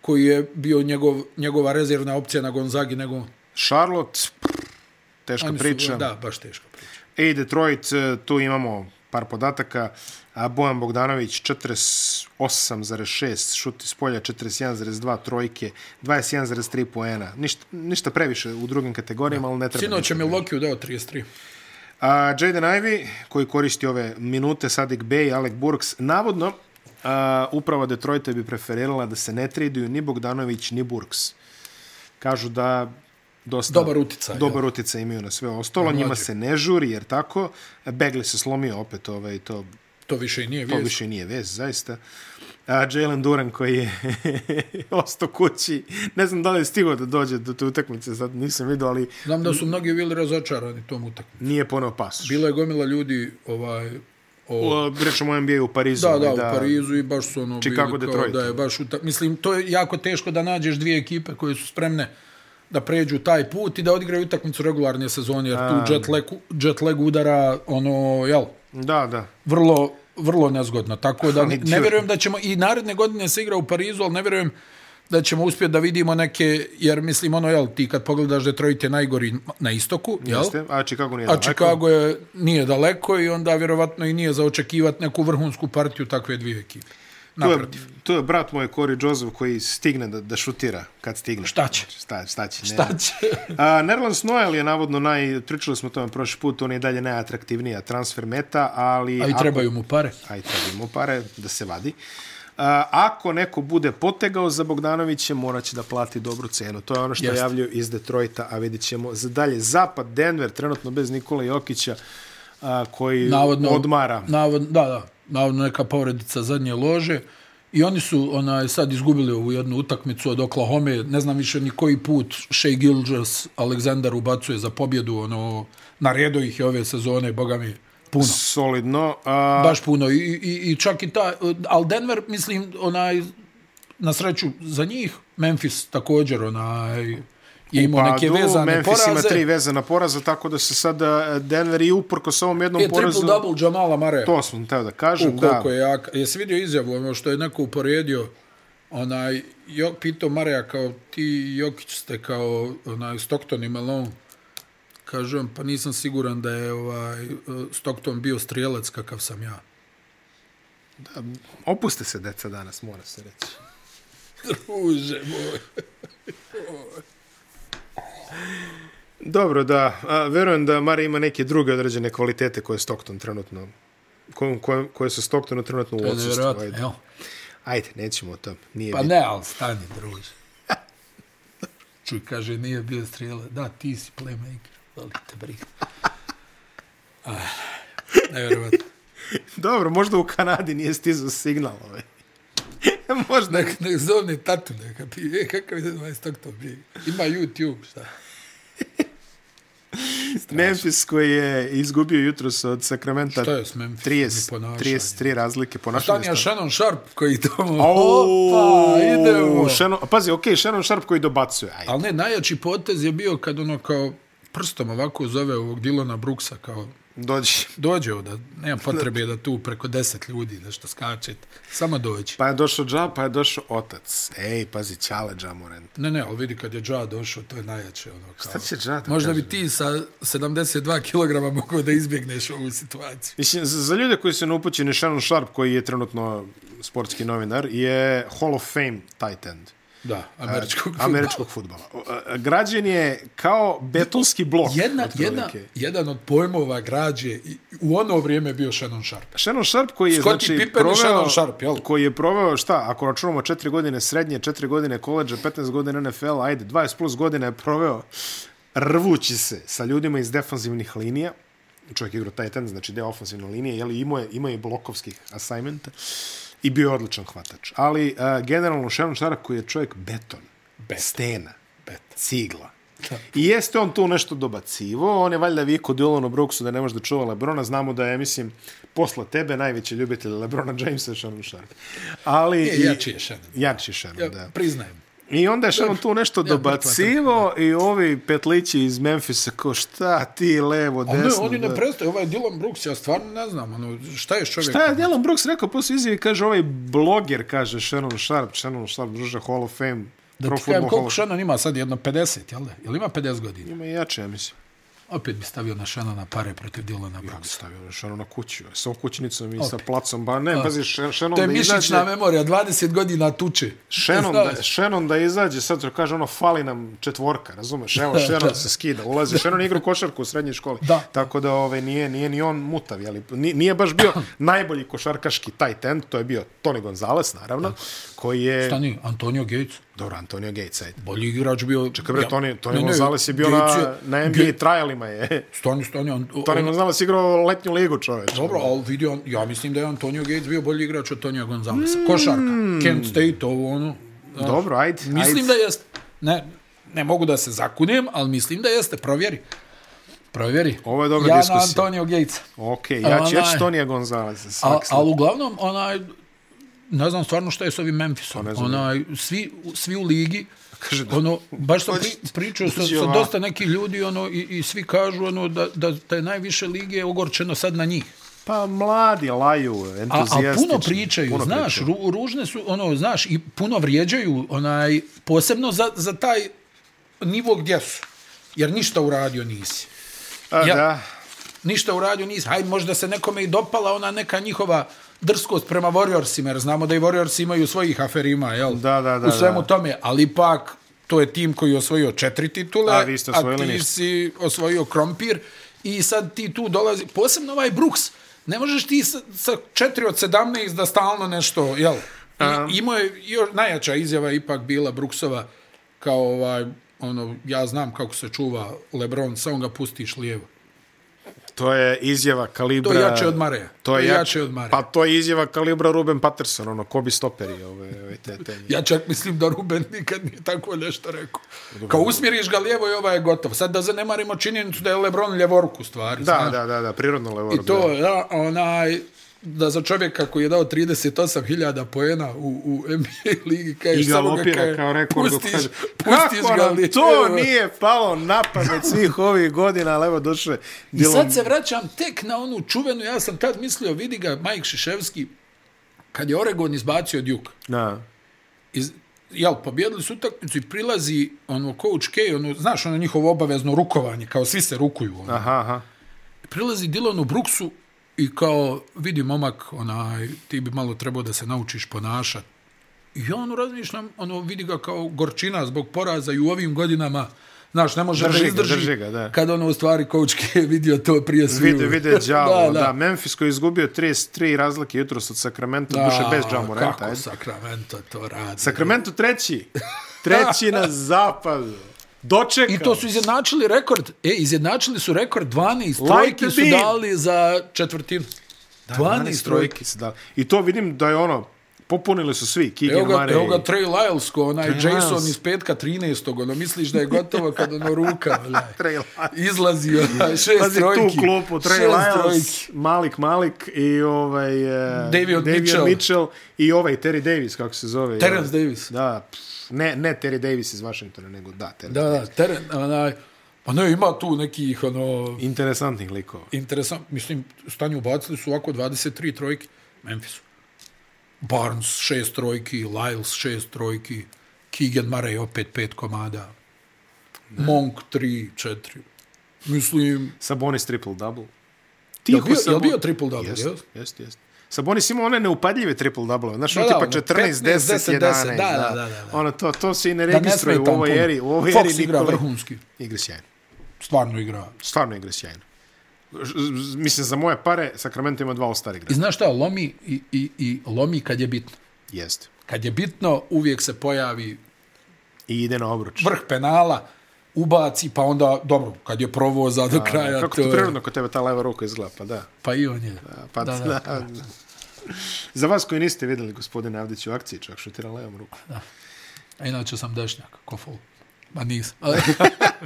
S2: koji je bio njegov, njegova rezervna opcija na Gonzagi nego
S1: Charlotte, prr, teška
S2: oni su-
S1: priča.
S2: Da, baš teška priča.
S1: Ej, Detroit, e, tu imamo par podataka. A Bojan Bogdanović 48,6, šut iz polja 41,2 trojke, 21,3 poena. Ništa, ništa previše u drugim kategorijama, ali ne treba.
S2: Sinoć
S1: ništa.
S2: je Milwaukee dao 33.
S1: A Jaden Ivey, koji koristi ove minute, Sadik Bey i Alec Burks, navodno a, uprava Detroita bi preferirala da se ne traduju ni Bogdanović, ni Burks. Kažu da dosta...
S2: Dobar uticaj,
S1: Dobar uticaj imaju na sve ostalo. Njima se ne žuri, jer tako. Begli se slomio opet, ovaj, to,
S2: To više i nije
S1: to
S2: vijest.
S1: više nije vez, zaista. A Jalen Duran koji je [laughs] ostao kući. Ne znam da li je stigao da dođe do te utakmice, sad nisam vidio, ali
S2: Znam da su mnogi bili razočarani tom utakmicom.
S1: nije ponao pasoš.
S2: Bila je gomila ljudi ovaj, o,
S1: O, Rečemo o NBA u Parizu.
S2: Da,
S1: ovaj,
S2: da, u Parizu i baš su ono
S1: Chicago,
S2: bili
S1: Detroit.
S2: kao da je baš uta... Mislim, to je jako teško da nađeš dvije ekipe koje su spremne da pređu taj put i da odigraju utakmicu regularne sezone, jer tu jet lag, jet lag udara, ono, jel,
S1: Da, da.
S2: vrlo, vrlo nezgodno. Tako da ne,
S1: Ali
S2: ne
S1: dio-
S2: vjerujem da ćemo, i naredne godine se igra u Parizu, ali ne vjerujem da ćemo uspjeti da vidimo neke, jer mislim, ono, jel, ti kad pogledaš Detroit je najgori na istoku, jel?
S1: Jeste? A Chicago nije
S2: A
S1: daleko.
S2: Chicago je, nije daleko i onda vjerovatno i nije za očekivati neku vrhunsku partiju takve dvije ekipe.
S1: To je,
S2: Naprotiv.
S1: to je brat moj Corey Joseph koji stigne da, da šutira kad stigne.
S2: Šta će?
S1: Šta, šta će?
S2: Šta
S1: Ne.
S2: će?
S1: A, Nerlens Noel je navodno naj... Pričali smo o tome prošli put, on je i dalje najatraktivnija transfer meta, ali...
S2: A i trebaju mu pare.
S1: Ako, aj, trebaju pare da se vadi. A, ako neko bude potegao za Bogdanoviće, moraće da plati dobru cenu. To je ono što
S2: Jeste.
S1: javljaju iz Detroita, a vidit ćemo za dalje. Zapad, Denver, trenutno bez Nikola Jokića, a, koji
S2: Navodno,
S1: odmara.
S2: Navod, da, da. Navodno neka povredica zadnje lože. I oni su onaj, sad izgubili ovu jednu utakmicu od Oklahoma. Ne znam više ni koji put Shea Gilgers Aleksandar ubacuje za pobjedu. Ono, naredo ih je ove sezone, boga mi, puno.
S1: solidno. e, A,
S2: Baš puno. I, i, i čak i ta... Al Denver, mislim, onaj, na sreću za njih, Memphis također, onaj, je imao
S1: pa
S2: neke
S1: do,
S2: vezane
S1: Memphis
S2: poraze.
S1: ima tri vezana poraza, tako da se sad a, Denver i uprko s ovom jednom
S2: je
S1: porazu...
S2: triple-double Jamala Mare.
S1: To sam teo da kažem,
S2: E, U,
S1: da.
S2: koliko je jak. Jesi vidio izjavu ono što je neko uporedio onaj Jok pitao Mareja kao ti i Jokić ste kao onaj Stockton i Malone Kažem, pa nisam siguran da je ovaj, eh, Stockton bio strijelac kakav sam ja. [laughs]
S1: Opuste se deca danas, mora se reći.
S2: Druže moj.
S1: Dobro, da. A, verujem da Mare ima neke druge određene kvalitete koje Stockton trenutno koje, koje, koje su Stocktonu trenutno u
S2: To je
S1: odsustvu.
S2: nevjerojatno,
S1: Ajde.
S2: jel?
S1: Ajde, nećemo o tom. Nije
S2: Pa
S1: bitno.
S2: ne, ali stani,
S1: [laughs]
S2: druže. Čuj, kaže, nije bio strijelac. Da, ti si playmaker. Vali te briga. Ah, Nevjerovatno.
S1: Dobro, možda u Kanadi nije stizao signal ovaj. [laughs] možda.
S2: Nek, nek zovni tatu neka pije, e, kakav je 20 to briga. Ima YouTube, šta?
S1: Memphis koji je izgubio jutros od Sakramenta
S2: Šta je s Memphisom i
S1: 30,
S2: ponašanjem?
S1: 33 razlike ponašanja.
S2: Tanja Shannon Sharp koji tamo...
S1: Opa,
S2: Opa, idemo!
S1: Shannon, pazi, okej, okay, Shannon Sharp koji dobacuje. Ajde.
S2: Ali ne, najjači potez je bio kad ono kao prstom ovako zove ovog Dilona Brooksa kao
S1: Dođi.
S2: dođe ovdje, nema potrebe da tu preko deset ljudi nešto skače, samo dođi.
S1: Pa je došao Dža, pa je došao otac. Ej, pazi, Ćale Dža Morant.
S2: Ne, ne, ali vidi kad je Dža došao, to je najjače ono kao.
S1: Šta će Dža da
S2: Možda
S1: kaže?
S2: bi ti sa 72 kg mogao da izbjegneš ovu situaciju.
S1: Mislim, za, za ljude koji su neupućeni, Shannon Sharp, koji je trenutno sportski novinar, je Hall of Fame tight end.
S2: Da, američkog
S1: A- Američkog futbala. Građen je kao betonski blok.
S2: Jedna,
S1: otprilike.
S2: jedna, jedan od pojmova građe i- u ono vrijeme je bio Shannon Sharp.
S1: Shannon Sharp koji je
S2: Scottie
S1: znači
S2: Pippen i Shannon Sharp, jel?
S1: koji je proveo šta, ako računamo 4 godine srednje, 4 godine koleđa, 15 godina NFL, ajde 20 plus godina je proveo rvući se sa ljudima iz defanzivnih linija. Čovjek je igrao tight end, znači deo ofenzivne linije, jeli imao je, imao je blokovskih assignmenta i bio je odličan hvatač. Ali uh, generalno Shannon Sharp koji je čovjek beton,
S2: Beton.
S1: stena,
S2: Bet.
S1: cigla. I jeste on tu nešto dobacivo, on je valjda vikao Dylanu Brooksu da ne može da čuva Lebrona, znamo da je, mislim, posle tebe najveći ljubitelj Lebrona Jamesa je Shannon Sharp. Ali,
S2: Je,
S1: i-
S2: jači je Shannon.
S1: Jači je Shannon,
S2: Ja,
S1: da.
S2: Priznajem.
S1: I onda je Shannon tu nešto dobacivo i ovi petlići iz Memfisa ko šta ti levo,
S2: Ne,
S1: desno.
S2: oni ne
S1: da.
S2: prestaju, ovaj Dylan Brooks, ja stvarno ne znam, ono, šta je čovjek?
S1: Šta je Dylan Brooks rekao posle izjavi, kaže ovaj bloger, kaže Shannon Sharp, Shannon Sharp, druže Hall of Fame,
S2: Da
S1: Pro
S2: ti kažem
S1: Football Hall
S2: koliko
S1: of
S2: Shannon ima sad, jedno 50, jel da? Jel ima 50 godina?
S1: Ima i jače, ja mislim.
S2: Opet bi stavio na Shannona pare protiv Dylana
S1: Ja bi
S2: Brooksa.
S1: stavio Šanu na kuću, sa okućnicom i sa placom, ba ne, pazi, Še- Šenon
S2: To
S1: da
S2: je
S1: izađe,
S2: mišićna memorija, 20 godina tuče.
S1: Šenon
S2: Znaš?
S1: da, Šenon da izađe, sad to kaže ono, fali nam četvorka, razumeš,
S2: [laughs]
S1: evo, Šenon se skida, ulazi, Šenon igra košarku u srednjoj školi,
S2: Da.
S1: tako da ove, nije, nije ni on mutav, jeli, Ni- nije baš
S2: [clears throat]
S1: bio najbolji košarkaški tight end, to je bio Tony Gonzalez, naravno, koji je,
S2: Šta nije? Antonio Gates,
S1: dobro, Antonio Gates, ajde.
S2: bolji igrač bio... Čekaj
S1: Dobre, Tony, Tony Gonzalez je bio na, na NBA trialima, je. [laughs]
S2: Stani, stani, on, on,
S1: Tony Gonzalez igrao letnju ligu, čoveč.
S2: Dobro, ali vidi, on, ja mislim da je Antonio Gates bio bolji igrač od Tonija Gonzalesa. Košarka, Kent State, ovo ono. Znaš,
S1: Mm. Dobro, ajde. ajde.
S2: Mislim da jeste. Ne, ne mogu da se zakunem, ali mislim da jeste. Provjeri. Provjeri.
S1: Ovo je dobra
S2: ja Ja na
S1: diskusija.
S2: Antonio Gatesa.
S1: Ok, ja ću, ja ću
S2: Onaj-
S1: Tonija Gonzaleza.
S2: Ovaj. A,
S1: svak sliči.
S2: ali uglavnom, onaj, ne znam stvarno šta je s ovim Memphisom.
S1: Pa ne znam.
S2: Onaj, svi, svi u ligi,
S1: Kaže da- Pa
S2: ono, baš sam pri, pričao sa,
S1: dođi
S2: sa
S1: ovako.
S2: dosta nekih ljudi ono, i, i svi kažu ono, da, da, da je najviše lige ogorčeno sad na njih.
S1: Pa mladi laju,
S2: A,
S1: entuzijastični.
S2: a puno pričaju, puno znaš, pričaju. Ru, ružne su, ono, znaš, i puno vrijeđaju, onaj, posebno za, za taj nivo gdje su. Jer ništa uradio nisi.
S1: A,
S2: ja-
S1: da.
S2: Ništa uradio nisi. Hajde, možda se nekome i dopala ona neka njihova drskost prema Warriorsima, jer znamo da i Warriorsi imaju svojih aferima, jel?
S1: Da, da, da,
S2: U svemu
S1: da.
S2: tome, ali ipak to je tim koji je osvojio četiri titule,
S1: A vi ste osvojili
S2: ti
S1: ništa.
S2: si osvojio krompir i sad ti tu dolazi, posebno ovaj Brooks, ne možeš ti sa, sa 4 od 17 da stalno nešto, jel? I, imao je, još, najjača izjava je ipak bila Brooksova kao ovaj, ono, ja znam kako se čuva Lebron, samo ga pustiš lijevo.
S1: To je izjava kalibra...
S2: To je jače od Mareja.
S1: To je jače
S2: od Mareja.
S1: Pa to je izjava kalibra Ruben Patterson, ono, Kobi Stoperi, ove, ove te, te.
S2: Ja čak mislim da Ruben nikad nije tako nešto rekao. Kao usmjeriš ga lijevo i ovaj je gotov. Sad da zanemarimo činjenicu da je Lebron ljevoruk u
S1: Da,
S2: stvari. znaš.
S1: da, da, da, prirodno levo.
S2: I to je da, onaj da za čovjeka koji je dao 38.000 poena u, u NBA ligi
S1: I
S2: kažeš
S1: ga
S2: samo ga
S1: lopira
S2: kaže,
S1: kao rekord. dok
S2: pustiš,
S1: kaže,
S2: pustiš
S1: Kako
S2: ga
S1: nam
S2: lijevo.
S1: to nije palo na pamet svih ovih godina, ali evo došle.
S2: I sad se vraćam tek na onu čuvenu, ja sam tad mislio, vidi ga Mike Šiševski, kad je Oregon izbacio Duke.
S1: Na,
S2: iz, jel, pobjedili su utakmicu i prilazi ono, coach K, ono, znaš, ono njihovo obavezno rukovanje, kao svi se rukuju. Ono.
S1: Aha, aha.
S2: Prilazi Dylanu Brooksu i kao, vidi momak, onaj, ti bi malo trebao da se naučiš ponašat. I ja ono razmišljam, ono, vidi ga kao gorčina zbog poraza i u ovim godinama, znaš, ne može
S1: Drži
S2: da
S1: ga,
S2: izdrži.
S1: drži ga, da.
S2: Kad ono, u stvari, coach K je vidio to prije sviju.
S1: Vide,
S2: [laughs]
S1: vide đavo, da, da. Memphis koji je izgubio 33 razlike jutros od Sacramento, duše bez Jamoranta.
S2: Kako
S1: ajde.
S2: Sacramento to radi.
S1: Sacramento treći. Treći
S2: [laughs]
S1: na zapadu. Dočekao.
S2: I to su izjednačili rekord. E, izjednačili su rekord 12
S1: Like
S2: trojki
S1: the
S2: su
S1: bean.
S2: dali za četvrtinu. Da, 12,
S1: 12
S2: trojki.
S1: trojke se dali. I to vidim da je ono, popunili su svi. Keegan
S2: Evo ga,
S1: Murray.
S2: evo ga Trey Lyles, ko onaj
S1: Trey
S2: Jason
S1: Lyles.
S2: iz petka 13. Ono, misliš da je gotovo kad ono
S1: [laughs]
S2: ruka, onaj,
S1: Trey Lyles.
S2: izlazi onaj, šest
S1: Pazi
S2: trojki.
S1: tu klopu, Trey
S2: Šest
S1: Lyles,
S2: trojki.
S1: Malik Malik i ovaj... eh,
S2: Davion Mitchell.
S1: Mitchell. I ovaj Terry Davis, kako se zove.
S2: Terence Davis.
S1: Da, pff, ne, ne Terry Davis iz Washingtona, nego da, Terry.
S2: Da, da, teren, onaj, pa ne, ima tu nekih, ono,
S1: Interesantnih likova.
S2: interesant, mislim, stanju ubacili su ovako 23 trojke Memphisu. Barnes šest trojki, Lyles šest trojki, Keegan Murray opet pet komada, Monk tri, četiri. Mislim,
S1: Sabonis triple-double.
S2: je bio, je
S1: Sabon-
S2: bio triple-double,
S1: Jeste,
S2: jel?
S1: jeste, jeste. Sabonis ima one neupadljive triple-double, znaš,
S2: Da,
S1: ono
S2: da,
S1: tipa
S2: ono,
S1: 14, 10, 11,
S2: 10,
S1: da,
S2: da, da, da, da.
S1: Ono, to, to se i ne
S2: Da ne
S1: registruje u
S2: smeta
S1: ovoj
S2: puno.
S1: eri, u ovoj eri
S2: Fox igra
S1: Nikole.
S2: vrhunski.
S1: Igra sjajno,
S2: Stvarno igra.
S1: stvarno igra sjajno. Ž- z- Mislim, za moje pare, Sacramento ima dva ostara igra.
S2: I znaš šta, lomi i, i, i lomi kad je bitno.
S1: Jeste.
S2: Kad je bitno, uvijek se pojavi
S1: I ide na obruč.
S2: vrh penala, ubaci, pa onda, dobro, kad je provoza do kraja,
S1: Kako
S2: to
S1: to
S2: je-
S1: prirodno kod tebe ta leva ruka izgleda, pa da.
S2: Pa i on je.
S1: Pa da,
S2: Da,
S1: da.
S2: da.
S1: [laughs] Za vas koji niste videli gospodine Avdić u akciji, čak šutira levom rukom.
S2: A inače sam dešnjak, ko fol. Ma nisam. Ali,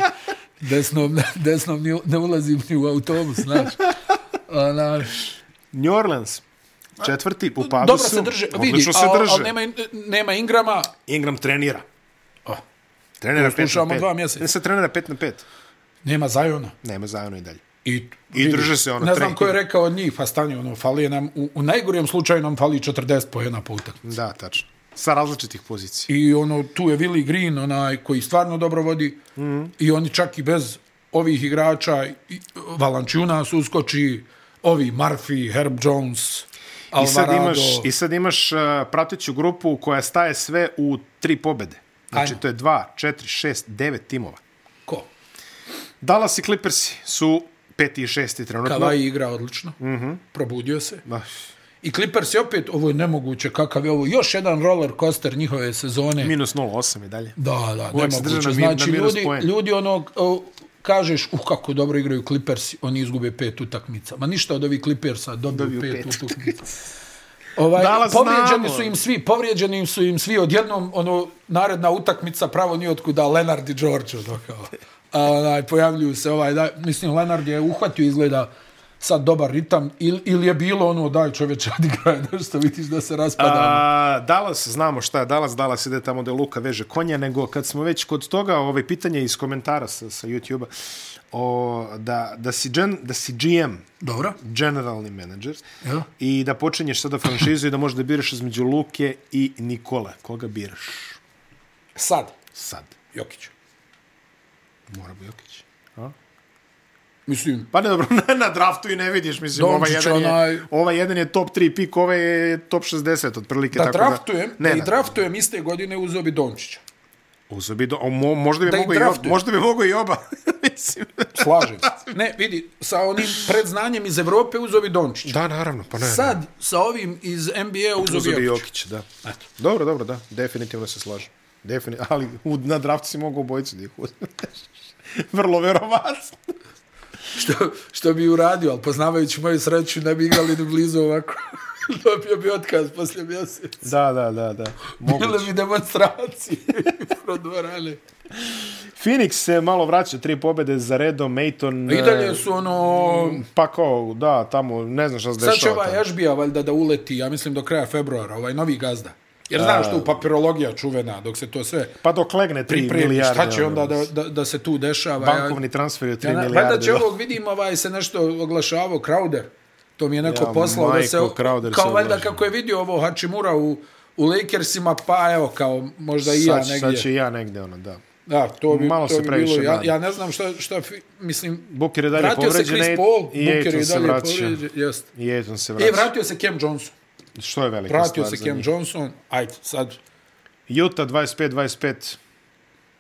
S2: [laughs] desnom, desnom ni- ne ulazim ni u autobus, znaš. Ona,
S1: New Orleans, četvrti, u padu
S2: dobro
S1: su.
S2: se drže, vidi,
S1: odlično se
S2: ali
S1: drže.
S2: al nema, nema Ingrama.
S1: Ingram trenira.
S2: Oh,
S1: Trenera
S2: To
S1: 5 na
S2: slušamo
S1: 5.
S2: dva mjeseca.
S1: Ne, sad trenera 5 na 5.
S2: nema Zajona.
S1: Nema Zajona i dalje.
S2: I,
S1: I drže se ono
S2: Ne
S1: tri.
S2: znam ko je rekao od njih, pa stani, ono, fali nam, u, u najgorijem slučaju nam fali 40 pojena po utakmici.
S1: Da, tačno. Sa različitih pozicija.
S2: I ono, tu je Willi Green, onaj koji stvarno dobro vodi. Mm
S1: Mhm.
S2: -hmm. I oni čak i bez ovih igrača, i- Valančunas uskoči, ovi Murphy, Herb Jones,
S1: I sad,
S2: Alvarado.
S1: imaš, I sad imaš uh, prateću grupu koja staje sve u tri pobede. Znači,
S2: Ajmo.
S1: to je 2, 4, 6, 9 timova.
S2: Ko?
S1: Dallas i Clippersi su peti i šesti trenutno.
S2: Kawhi igra odlično. Mm
S1: Mhm.
S2: -hmm. Probudio se.
S1: Da.
S2: I Clippers je opet, ovo je nemoguće, kakav je ovo, još jedan roller coaster njihove sezone.
S1: Minus 0,8 i dalje.
S2: Da, da,
S1: Uvijek
S2: Uvijek
S1: se drže
S2: nemoguće.
S1: na mir- na
S2: Znači,
S1: minus
S2: ljudi,
S1: poen.
S2: ljudi ono, o, kažeš, uh, kako dobro igraju Clippers, oni izgube pet utakmica. Ma ništa od ovih Clippersa dobiju pet,
S1: pet
S2: utakmica. Ovaj,
S1: Dallas
S2: povrijeđeni
S1: znamo.
S2: su im svi, povrijeđeni im su im svi odjednom, ono, naredna utakmica pravo nije otkuda, Lenard i George, ono kao. A, onaj, pojavljuju se ovaj, da, mislim, Lenard je uhvatio, izgleda sad dobar ritam, ili, ili je bilo ono, daj čoveče, odigraj nešto, vidiš da se raspada. ono.
S1: A, Dallas, znamo šta je Dallas, Dallas ide tamo gde Luka veže konja, nego kad smo već kod toga, ove pitanje iz komentara sa, sa YouTube-a, o, da, da, si gen, da si GM,
S2: Dobro.
S1: generalni menadžer,
S2: Jel?
S1: i da počinješ sada franšizu i da možda biraš između Luke i Nikole. Koga biraš
S2: Sad,
S1: sad?
S2: Jokić.
S1: Mora bi Jokić.
S2: Mislim,
S1: Pa ne, dobro, [laughs] na, na draftu i ne vidiš, mislim,
S2: Doncic,
S1: ovaj jedan,
S2: onaj-
S1: je, ovaj jedan je top 3 pik, ovaj je top 60, otprilike.
S2: da
S1: tako
S2: draftujem,
S1: da,
S2: da, i draftujem iste godine uzeo bi Dončića.
S1: Uzo bi do, o, mo, možda bi
S2: Da ih
S1: mogao i oba.
S2: draftujem.
S1: Možda bi mogao i oba. [laughs] Mislim.
S2: Slažem se. Ne, vidi, sa onim predznanjem iz Evrope uzeo bi Dončića.
S1: Da, naravno, pa ne. ne.
S2: Sad, sa ovim iz NBA uzeo
S1: Uzo
S2: bi
S1: bi
S2: Jokić.
S1: Jokić, da. Dobro, dobro, da. Definitivno se slažem. Defini [laughs] ali u, na draftu si mogao obojicu da ih uzmeš. [laughs] Vrlo verovatno.
S2: Što, [laughs] što bi uradio, ali poznavajući moju sreću, ne bi igrali ni blizu ovako. [laughs] Dobio bi otkaz poslije mjeseca.
S1: Da, da, da,
S2: [laughs]
S1: da.
S2: Bile bi demonstracije [laughs] ispred dvorane.
S1: Phoenix se malo vraća, tri pobede za redom, Mayton...
S2: I dalje su ono...
S1: e, Pa kao, da, tamo, ne znam šta se dešava.
S2: Sad će ovaj
S1: tamo.
S2: Ashbija valjda da uleti, ja mislim do kraja februara, ovaj novi gazda. Jer znaš tu papirologija čuvena, dok se to sve
S1: Pa dok legne 3
S2: pripremi,
S1: milijarde.
S2: šta će
S1: ono,
S2: onda da, da, da se tu dešava.
S1: Bankovni transfer je 3
S2: ja, ja,
S1: milijarde. ono.
S2: Valjda će
S1: da.
S2: ovog, vidim, ovaj se nešto oglašavao, Crowder. To mi je neko
S1: Ja,
S2: poslao da se,
S1: majko, Crowder se
S2: kao valjda
S1: oglašava.
S2: kako je vidio ovo Hachimura u, u Lakersima, pa evo, kao možda i ja
S1: sad,
S2: negdje.
S1: sad će i ja negde, ono, da.
S2: Da, to bi,
S1: Malo
S2: to
S1: se
S2: bi
S1: previše
S2: bilo. Ja,
S1: brani.
S2: ja ne znam šta, šta fi- mislim,
S1: Booker je dalje
S2: vratio se
S1: povređen
S2: Chris
S1: i-
S2: Paul,
S1: i
S2: Booker je
S1: Aiton se
S2: dalje
S1: vraća.
S2: povređen. Jest.
S1: I Aiton se vraća.
S2: E, vratio se Cam Johnson.
S1: Što je velika
S2: Vratio
S1: stvar
S2: se
S1: za
S2: Cam
S1: njih.
S2: Johnson. Ajde, sad
S1: Utah 25-25,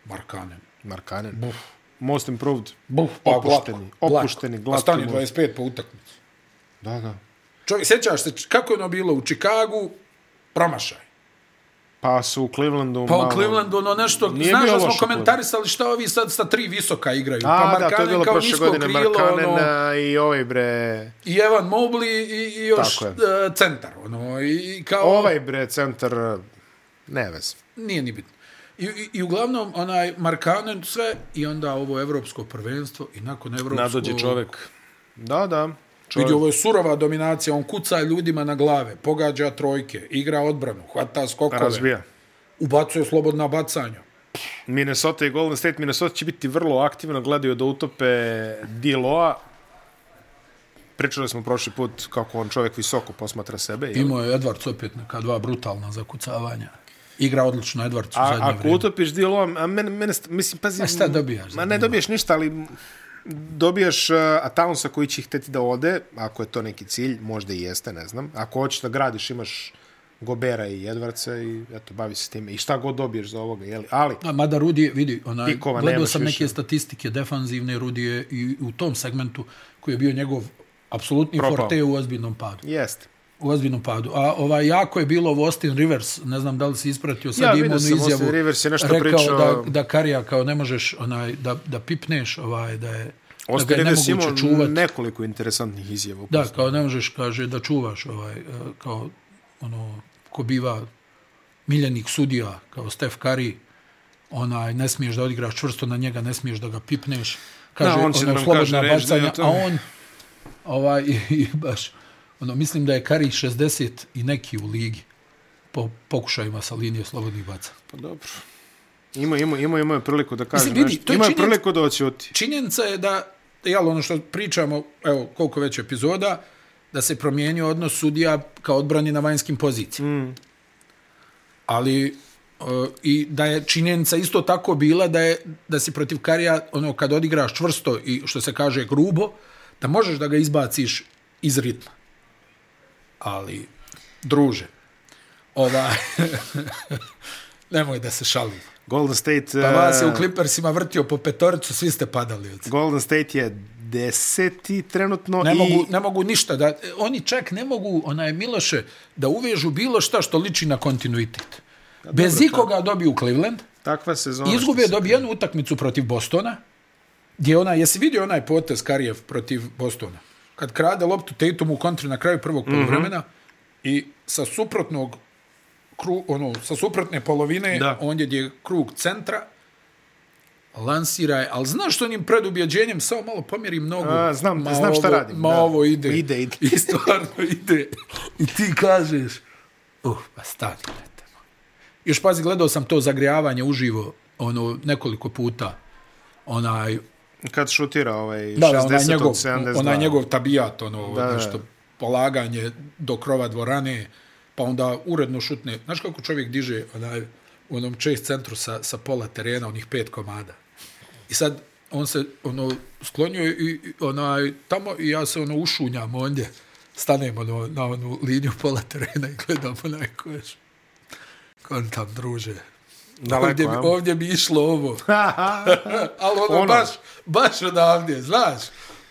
S2: Markanen.
S1: Markanen. Buf. Most improved.
S2: Buf, pa
S1: Opušteni,
S2: glatko,
S1: opušteni,
S2: glatko.
S1: glatki
S2: A stani
S1: most.
S2: 25 po utakmici.
S1: Da, da.
S2: Čovjek, sjećaš se č- kako je ono bilo u Čikagu? Promašaj.
S1: Pa su u Clevelandu
S2: Pa
S1: malo...
S2: u Clevelandu ono nešto,
S1: Nije
S2: znaš
S1: bio
S2: da smo
S1: loše
S2: komentarisali šta ovi sad sa tri visoka igraju.
S1: A,
S2: pa
S1: da, to je bilo
S2: kao
S1: prošle
S2: nisko
S1: godine
S2: krilo, ono,
S1: Markanena i ovaj bre...
S2: i Evan Mobley i, i još
S1: Tako
S2: e, centar. Ono, i, i kao,
S1: Ovaj bre centar... Ne vez.
S2: nije ni bitno. I, i, i uglavnom, onaj Markanen sve i onda ovo evropsko prvenstvo i nakon evropskog...
S1: Da, da. Čovjek.
S2: Vidi, ovo je surova dominacija, on kuca ljudima na glave, pogađa trojke, igra odbranu, hvata skokove,
S1: Razbija.
S2: ubacuje slobodna bacanja.
S1: Minnesota i Golden State. Minnesota će biti vrlo aktivno, gledaju da utope Diloa. Pričali smo prošli put kako on čovjek visoko posmatra sebe. jel?
S2: Imao je Edvards opet neka dva brutalna zakucavanja. Igra odlično Edvards u
S1: A,
S2: zadnje
S1: ako
S2: vrijeme.
S1: utopiš Diloa, a mene, mene, st- mislim, pazi...
S2: A šta dobijaš za
S1: Ma ne dobijaš ništa, ali dobijaš uh, Ataunsa koji će hteti da ode, ako je to neki cilj, možda i jeste, ne znam. Ako hoćeš da gradiš, imaš Gobera i Edvarca i eto, bavi se time. I šta god dobiješ za ovoga, jeli? Ali,
S2: A, mada Rudi, je, vidi, onaj,
S1: Pikova
S2: gledao
S1: nemaš
S2: sam neke
S1: više.
S2: statistike defanzivne, Rudi je i u tom segmentu koji je bio njegov apsolutni
S1: Propao.
S2: forte u ozbiljnom padu.
S1: jeste.
S2: U ozbiljnom padu. A ovaj, jako je bilo ovo Austin Rivers, ne znam da li si ispratio, sad
S1: Ja,
S2: ja, imao
S1: vidio
S2: onu
S1: sam,
S2: izjavu.
S1: Austin Rivers je nešto
S2: rekao
S1: pričao-
S2: da, da Karija kao ne možeš onaj, da, da pipneš, ovaj, da je
S1: Austin
S2: da ga je
S1: Rivers
S2: nemoguće
S1: imao
S2: čuvati.
S1: nekoliko interesantnih izjava.
S2: Da, kao ne možeš, kaže, da čuvaš ovaj, eh, kao ono, ko biva miljenik sudija, kao Steph Curry, onaj, ne smiješ da odigraš čvrsto na njega, ne smiješ da ga pipneš, kaže,
S1: Da,
S2: da,
S1: on
S2: on
S1: će da
S2: ono,
S1: nam
S2: slobodna
S1: kaže
S2: kaže,
S1: reč da je
S2: bacanja,
S1: to-
S2: a on, ovaj, [laughs] i, i baš, ono, mislim da je Curry 60 i neki u ligi po pokušajima sa linije slobodnih baca.
S1: Pa dobro. Ima, ima, ima, ima je priliku da kaže
S2: vidi,
S1: nešto.
S2: to je
S1: Ima je
S2: činjenica-
S1: priliku da oćuti.
S2: Činjenica je da, jel, ono što pričamo, evo, koliko već epizoda, da se promijenio odnos sudija kao odbrani na vanjskim pozicijama. Mm. Ali e, i da je činjenica isto tako bila da je da si protiv Karija ono kad odigraš čvrsto i što se kaže grubo da možeš da ga izbaciš iz ritma ali druže ova [laughs] nemoj da se šalim
S1: Golden State...
S2: pa vas je
S1: e,
S2: u Clippersima vrtio po petoricu svi ste padali od
S1: Golden State je deseti trenutno
S2: Ne,
S1: Pa i...
S2: mogu, ne mogu ništa. Da, oni čak ne mogu, onaj Miloše, da uvežu bilo šta što liči na kontinuitet.
S1: Pa
S2: Bez ikoga dobiju Cleveland,
S1: Takva sezona.
S2: izgube
S1: što se-
S2: dobiju jednu utakmicu protiv Bostona, gdje ona, jesi vidio onaj potez Karijev protiv Bostona? Kad krade loptu Tatum u kontri na kraju prvog
S1: Mhm.
S2: polovremena i sa suprotnog kru, ono, sa suprotne
S1: Da.
S2: polovine, da. ondje gdje je krug centra, lansira je, ali znaš što onim predubjeđenjem, samo malo pomjerim nogu.
S1: A, znam-
S2: ma
S1: znam šta
S2: ovo,
S1: radim,
S2: Ma
S1: da.
S2: ovo ide.
S1: Ide, ide.
S2: [laughs] I stvarno ide. I ti kažeš, uh, pa stani, lete. moj." Još pazi, gledao sam to zagrijavanje uživo, ono, nekoliko puta. Onaj,
S1: Kad šutira ovaj
S2: da,
S1: 60
S2: da, onaj njegov,
S1: od 72.
S2: onaj njegov tabijat, ono,
S1: Da, da.
S2: da, nešto, polaganje do krova dvorane, pa onda uredno šutne. Znaš kako čovjek diže onaj, u onom čest centru sa, sa pola terena, onih pet komada. I sad on se ono sklonio i i, onaj tamo i ja se ono ušunjam ondje. Stanem ono, na onu liniju pola terena i gledam onaj koš. Kontam, druže.
S1: Daleko,
S2: ovdje, bi,
S1: a?
S2: ovdje bi išlo
S1: [laughs]
S2: ovo. Ali ono,
S1: Ono.
S2: ono, baš, baš odavdje, znaš.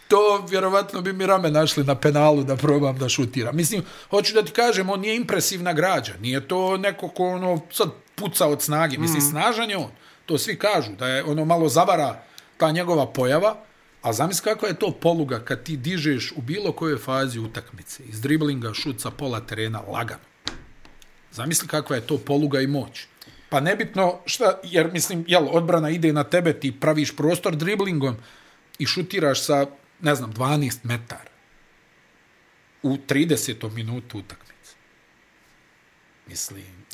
S2: To vjerovatno bi mi rame našli na penalu da probam da šutiram. Mislim, hoću da ti kažem, on nije impresivna građa. Nije to neko ko ono sad puca od snage. Mislim,
S1: Mm.
S2: snažan je on. To svi kažu, da je ono malo zavara ta njegova pojava. A zamisli kakva je to poluga kad ti dižeš u bilo kojoj fazi utakmice. Iz driblinga, šut sa pola terena, lagano. Zamisli kakva je to poluga i moć. Pa nebitno šta, jer mislim, jel, odbrana ide na tebe, ti praviš prostor driblingom i šutiraš sa, ne znam, 12 metara u 30. minutu utakmice. Mislim,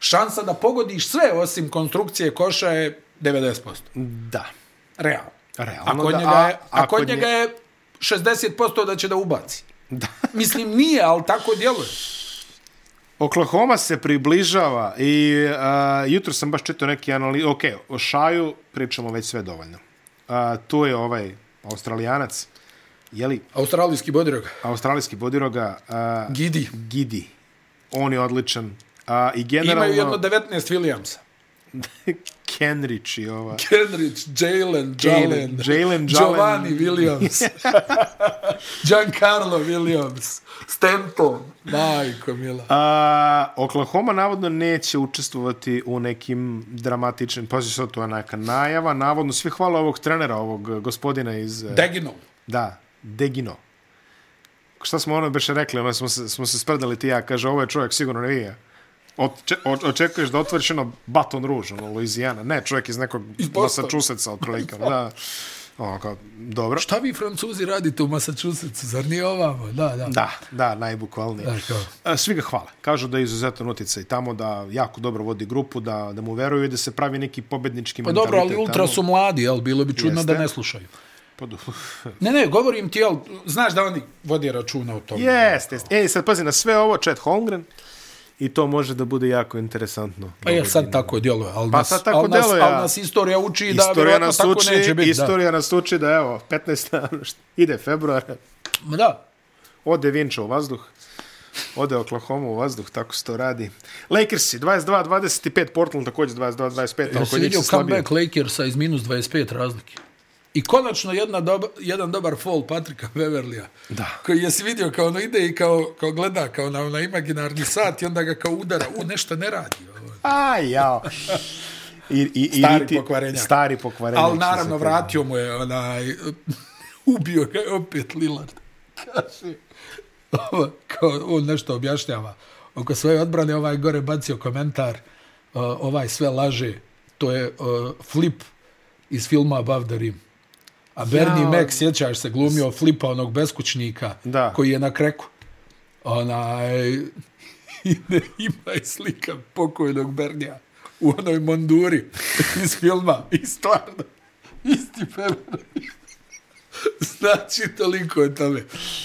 S2: šansa da pogodiš sve osim konstrukcije koša je 90%.
S1: Da.
S2: Realno.
S1: Realno,
S2: a kod
S1: E, ono da.
S2: njega
S1: A-
S2: je, a,
S1: a kod
S2: kod njega
S1: nje-
S2: je 60% da će da ubaci.
S1: Da.
S2: Mislim, nije, ali tako djeluje.
S1: Oklahoma se približava i a, jutro sam baš čitao neki analiz... Ok, o Šaju pričamo već sve dovoljno. A, tu je ovaj australijanac, jeli,
S2: Australijski bodirog.
S1: australijski bodiroga, a,
S2: Gidi.
S1: Gidi. On je odličan. A, I
S2: Imaju jedno
S1: generalno, [laughs]
S2: 19 Williamsa. [laughs]
S1: Kenrić i ova...
S2: Kenrich, Jalen, Jalen,
S1: Jalen, Jalen.
S2: Giovanni
S1: [laughs]
S2: Williams, Giancarlo Williams, Stanton, majko mila.
S1: A, Oklahoma navodno neće učestvovati u nekim dramatičnim, pazi sad to je neka najava, navodno svi hvala ovog trenera, ovog eh, gospodina iz, eh,
S2: Deginov.
S1: da, Degino. Šta smo ono beše rekli, ono smo se, smo se sprdali ti i ja, kaže, ovo je čovjek sigurno nevija. Oče, o- očekuješ da otvoriš ono Baton Rouge, ono Louisiana. Ne, čovjek iz nekog
S2: Iz Bostona.
S1: Massachusettsa, otprilike. da.
S2: [laughs]
S1: Ono kao, dobro.
S2: Šta vi francuzi radite u Massachusettsu, zar nije ovamo? Da, da.
S1: Da, da, najbukvalnije.
S2: Da, kao. Pa
S1: A, Svi ga hvale. Kažu da je izuzetan utjecaj tamo, da jako dobro vodi grupu, da, da mu veruju i da se pravi neki pobednički
S2: Pa
S1: mentalitet.
S2: dobro, ali ultra
S1: tamo.
S2: su mladi, jel? Bilo bi čudno
S1: Jeste.
S2: da ne slušaju.
S1: Pa [laughs] do-
S2: Ne, ne, govorim ti, jel, znaš da oni vode računa o tome.
S1: Jeste, jeste. Ej, E, sad pazi na sve ovo, Chet Holmgren, i to može da bude jako interesantno.
S2: Pa je sad tako djeluje, ali nas,
S1: Pa sad tako
S2: al nas,
S1: djeluje,
S2: al
S1: a-
S2: nas istorija uči da
S1: Istorija
S2: vjerojatno
S1: nas
S2: tako
S1: uči,
S2: neće biti.
S1: istorija nas uči da evo, 15. [laughs] ide februar,
S2: Da. da.
S1: ode Vinča u vazduh, ode Oklahoma u vazduh, tako se to radi. Lakersi, 22-25, Portland također 22-25,
S2: Jel
S1: ako
S2: si
S1: njih
S2: vidio
S1: se slabije.
S2: comeback Lakersa iz minus 25 razlike? I konačno jedna doba, jedan dobar fall Patrika Beverlija.
S1: Da.
S2: Koji je si vidio kao ono ide i kao, kao gleda kao na onaj imaginarni sat i onda ga kao udara. U, nešto ne radi. Ovo.
S1: Aj, jao. I, i, i
S2: Stari
S1: riti-
S2: pokvarenjak.
S1: Stari pokvarenjak.
S2: Ali
S1: što se
S2: naravno
S1: kaže.
S2: vratio mu je onaj... [laughs] ubio ga je opet Lillard. [laughs] Kaže, ovo, kao, on nešto objašnjava. Oko svoje odbrane ovaj gore bacio komentar uh, ovaj sve laže. To je uh, flip iz filma Above the Rim. A Bernie
S1: Jao.
S2: Mac, sjećaš se, glumio flipa onog beskućnika
S1: Da.
S2: koji je na kreku. Onaj, [laughs] i ne, ima je slika pokojnog Bernija u onoj monduri [laughs] iz filma. I stvarno, isti Beverly. [laughs] Znači, toliko je tome.